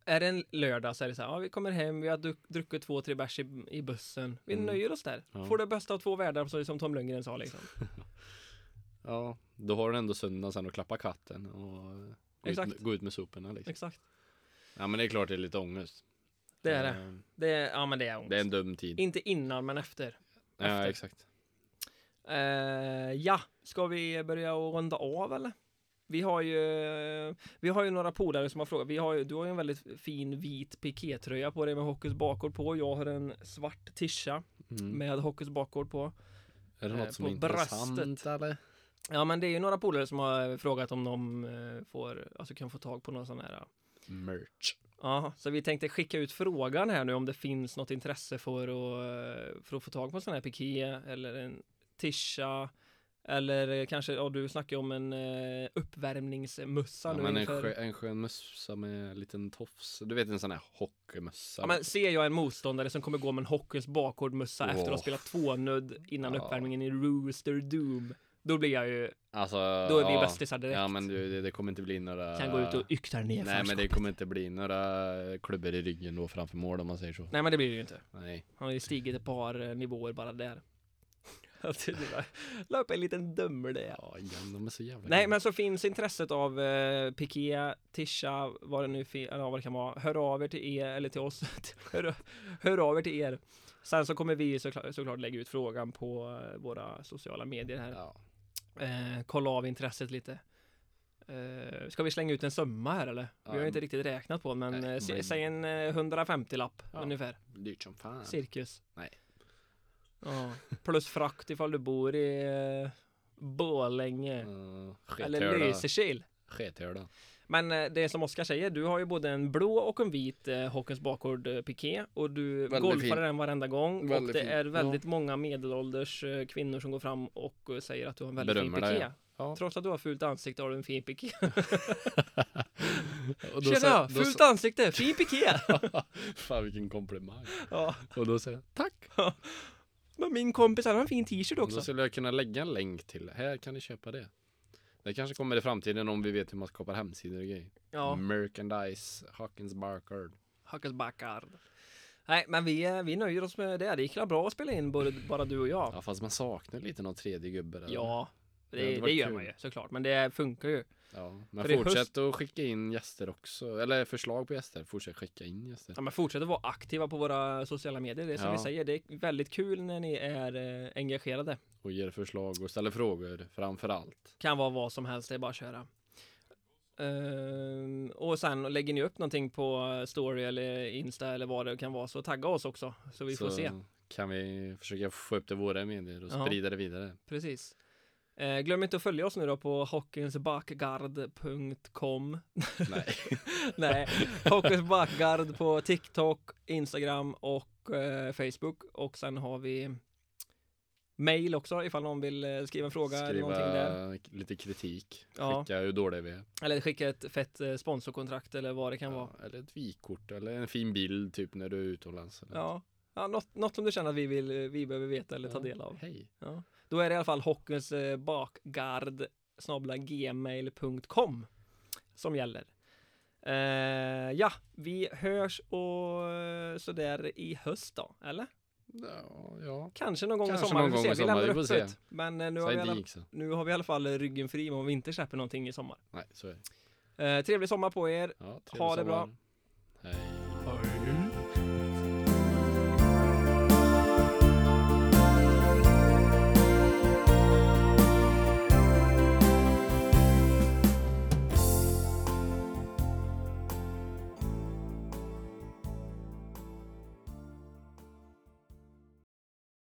Är det en lördag så är det så här, ja, vi kommer hem, vi har du- druckit två, tre bärs i, i bussen. Vi Mm. nöjer oss där. Ja. Får det bästa av två världar, så- som Tom Lundgren sa liksom. Ja, då har du ändå söndag sen att klappa katten och eh, gå, ut Exakt. med, gå ut med soporna liksom. Exakt. Ja men det är klart det är lite ångest. Det är det. Eh, det är, ja, men det är ångest. Det är en dum tid. Inte innan, men efter. Ja efter. exakt. Eh, ja, ska vi börja och runda av eller? Vi har ju, vi har ju några polare som har frågat. Vi har ju, du har ju en väldigt fin vit pikétröja på dig med Hockys bakgård på. Jag har en svart tisha Mm. med Hockys bakgård på. Är det eh, något som på är intressant bröstet. eller? Ja men det är ju några polare som har frågat om de eh, får, alltså kan få tag på någon sån här Merch. Ja, så vi tänkte skicka ut frågan här nu om det finns något intresse för att, eh, för att få tag på en sån här piké eller en tisha eller eh, kanske, ja du snackar ju om en eh, uppvärmningsmössa Ja, nu men en, inför- skö, en skön mössa med en liten tofs. Du vet en sån här hockeymössa. Ja, men ser jag en motståndare som kommer gå med en Hockeyns bakgårdmössa Åh. efter att ha spelat tvånudd innan Ja. uppvärmningen i Rooster Doom, då blir jag ju, alltså, då är vi ja. bästisar direkt. Ja men du, det, det kommer inte bli några... Kan gå ut och ykta ner Nej men det förskottet. kommer inte bli några klubbor i ryggen då framför mål om man säger så. Nej men det blir det ju inte. Nej. Han har ju stigit ett par eh, nivåer bara där. Alltså, det var- La upp en liten dömer det. Ja, igen, de är så jävla Nej, men så finns intresset av eh, Piqué, Tisha, vad det nu fin- eller vad det kan vara. Hör av er till er, eller till oss. hör, hör av er till er. Sen så kommer vi såklart, såklart lägga ut frågan på eh, våra sociala medier här. Ja. Eh, kolla av intresset lite. Eh, ska vi slänga ut en summa här eller? Vi har ju Ja, inte riktigt räknat på men, nej, eh, sä- men- säg en eh, 150-lapp Ja. ungefär. Dyrt som fan. Cirkus. Nej. Ja. Plus frakt ifall du bor i eh, Borlänge. Uh, eller Skethöla. Lysekil. Skethöla. Men eh, det är som Oskar säger, du har ju både en blå och en vit eh, Hockens bakgård eh, piké och du Väldigt golfar fin. den varenda gång och Väldigt det fin. är väldigt många medelålders eh, kvinnor som går fram och eh, säger att du har en väldigt Berömmer fin dig, piké. Ja. Trots att du har fult ansikte har du en fin piké. Och då Tjena! sa- då Fult sa- ansikte! Fin piké! Fan vilken komplimang. ja. Och då säger jag tack. Men min kompis han har en fin t-shirt Och också. då skulle jag kunna lägga en länk till. Här kan ni köpa det. Det kanske kommer i framtiden om vi vet hur man skapar hemsidor och grejer. Ja. Merchandise, Hawkins Barkard. Hackers Backard. Nej, men vi, eh, vi nöjer oss med det. Det gick bra att spela in både, bara du och jag. Ja fast man saknar lite någon tredje gubbe där. Ja, Ja, det, det det, var gör kul. man ju såklart. Men det funkar ju. ja. Men För det är fortsätt att skicka in gäster också. Eller förslag på gäster. Fortsätt skicka in gäster. Ja, men fortsätt att vara aktiva på våra sociala medier. Det är som Ja. vi säger, det är väldigt kul när ni är eh, engagerade. Och ger förslag och ställer frågor framför allt. Kan vara vad som helst, det är bara att köra. Ehm, och sen lägger ni upp någonting på story eller insta eller vad det kan vara så tagga oss också så vi får Så se. Kan vi försöka få upp det i våra medier och Ja. sprida det vidare. Precis. Eh, glöm inte att följa oss nu då på hockensbackgard.com Nej. Nej, Hockers Backgard på TikTok, Instagram och eh, Facebook. Och sen har vi mail också ifall någon vill eh, skriva en fråga eller någonting där. Skriva lite kritik. Ja. Skicka hur dåliga vi är. Eller skicka ett fett eh, sponsorkontrakt eller vad det kan vara. Ja, eller ett vykort eller en fin bild typ när du är utomlands. Eller Ja, ja något, något som du känner att vi, vill, eh, vi behöver veta eller något. ta del av. Hej. Ja. Då är det i alla fall Hockens eh, bakgard snabla gmail.com som gäller. Eh, ja, vi hörs och eh, sådär i höst då, eller? Ja, ja. Kanske någon gång Kanske i sommar. någon vi gång får i se. sommar, Vi vi lämnar får öppet. se. Men eh, nu har, Säg vi i det alla, gick så. nu har vi i alla fall ryggen fri om vi inte släpper någonting i sommar. Nej, så är det. Eh, trevlig sommar på er. Ja, Ha det trevlig bra. sommar. Hej.